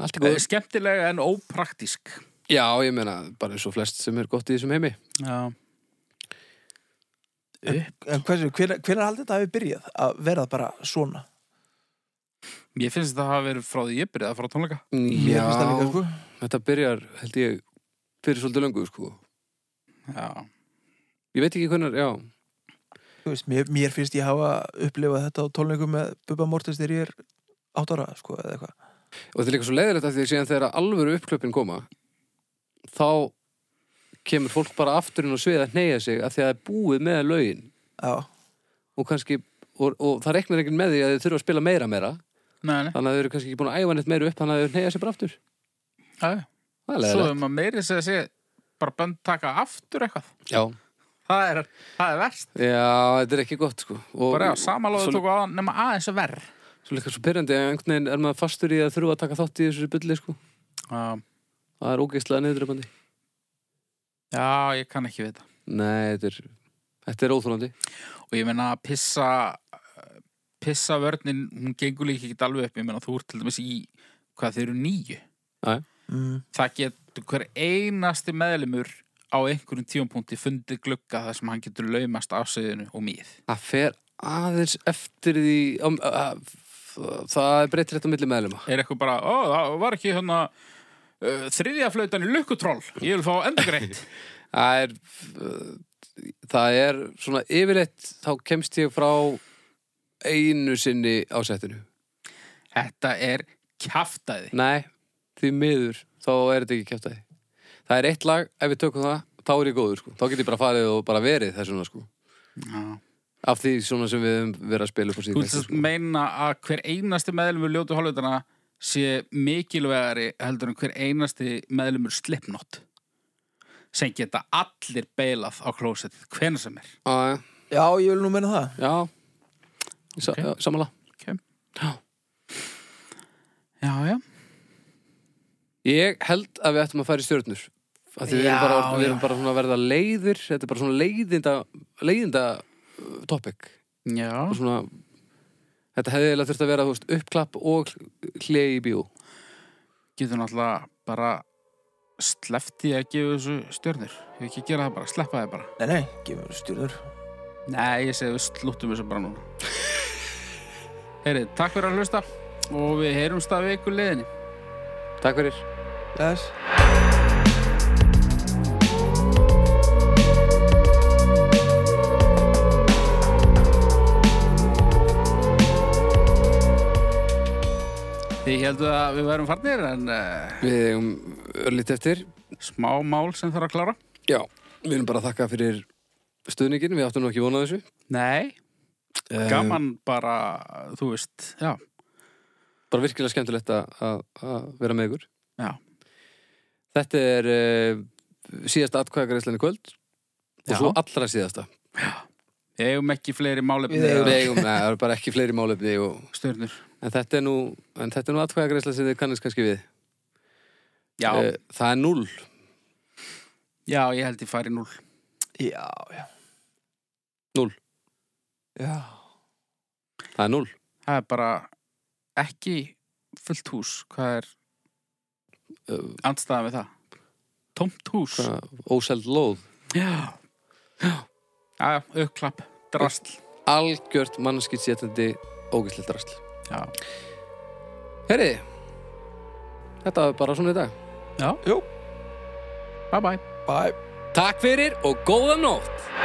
Allt í góð
skemmtilega en ópraktísk.
Já, ég meina, bara eins og flest sem er gott í þessum heimi.
Já.
En hversu, hvenar, hvenar haldi þetta hafi byrjað að verða bara svona
Ég finnst þetta að hafa verið frá því ég byrjaði að fara á tónleika.
Mér finnst það líka, sko.
þetta byrjar, held ég, fyrir svolítið löngu, sko.
Já.
Ég veit ekki hvernig, já,
Þú veist, mér, mér finnst ég hafa upplifað þetta á tónleikum með Bubba Mortis þegar ég er átt ára sko, eða eitthvað
og þetta er líka svo leiðilegt af því að síðan þegar alvöru uppklöpin koma, þá kemur fólk bara aftur inn og svið að neyja sig af því að það er búið með lögin
já,
og kannski, og, og það reknar ekkert með því að þau þurfa að spila meira meira
Nei, nei,
þannig að þau eru kannski ekki búin að æfa neitt meira upp þannig að þau neyja sig bara aftur
já, já.
Það er
Svo
leiðilegt.
er maður meiri sem að segja bara bönd taka aftur eitthvað
Já,
Það er, það er verst
já, þetta er ekki gott sko og,
Bara á samalóðu
svo-
tóku aðan nema aðeins að verð
Svo líka svo pyrrandi að einhvern veginn er maður fastur í að þurfa að taka þátt í þessu bulli sko.
Já,
Það er ógeistlega niðurdrefandi.
já ég kann ekki við þetta
Nei, þetta er, þetta er óþólandi.
Og ég meina að pissa pissa vörnin, hún gengur líka ekki alveg upp, ég meina þú ert til dæmis í hvað þeir eru nýju
mm,
það getur hver einasti meðlumur á einhverjum tíumpunkti fundið glugga þar sem hann getur laumast afsöðinu og mýð.
Það fer aðeins eftir því um, uh, uh, það er breytir þetta á milli meðlema.
Er eitthvað bara, ó, það var ekki hérna uh, þriðja flautan í lukkutroll ég vil fá endur greitt.
Það er, uh, það er svona yfirleitt þá kemst ég frá einu sinni á settinu.
Þetta er kjaftaði.
Nei, því miður þá er þetta ekki kæftæði. Það er eitt lag, ef við tökum það, þá er ég góður sko. Þá get ég bara farið og bara verið þessuna sko.
Já.
Af því svona sem við höfum verið að spila upp á
Þú
síðan.
vilt sem meina að hver einasti meðlumur ljótu hálfutana sé mikilvægari heldur en hver einasti meðlumur slipnott sem geta allir beilað á klósetið, hvenær sem er.
Já, já.
já, ég vil nú menna það
Ah, Já, Sa
Ok.
okay. samanlega
Já, já.
Ég held að við ættum að fara í stjörnur Af því við erum
Já,
bara, við erum
já.
bara svona að verða leiðir Þetta er bara svona leiðinda leiðinda uh, topic
Já.
Og svona, Þetta hefði eiginlega þurft að vera þú veist, uppklapp og hlið í bíó
getur náttúrulega bara slefti að gefa þessu stjörnir hefur ekki að gera það bara, sleppa það bara
nei, nei, gefur stjórnur
Nei, ég segi við slúttum þessu bara núna Heyrið, takk fyrir að hlusta og við heyrumst að viku liðinni
Takk fyrir
Bless.
Þið heldur að við værum farnir en uh,
Við eigum örlítið eftir
smá mál sem þarf að klára
Já, við erum bara að þakka fyrir stuðningin Við áttum nú ekki vonað þessu
Nei,
Eh,
gaman bara þú veist, já,
Bara virkilega skemmtilegt að- að að vera með ykkur
já,
Þetta er uh, síðasta atkvæðagreislan í kvöld og
Já.
svo allra síðasta
við eigum ekki fleiri málefni
Við eigum-
eða
Við eigum, neða, það eru bara ekki fleiri málefni og,
stjörnur
en þetta er nú, en þetta er nú atkvæðagreisla sem þið kannast kannski við
Já,
Eh, Það er null
já, ég held ég fari núl
já, já
Núll.
já,
Það er null
Það er bara ekki fullt hús. Hvað er
Eh,
andstæðan við það? Tómt hús.
hvað, Óseld lóð
Já. Já, já, auklapp, drastl.
Algjört mannskitt sétandi ógæslega drasl
Já.
Herri, þetta er bara svona í dag
Já.
Jú.
Bye bye.
bye
Takk fyrir og góða nótt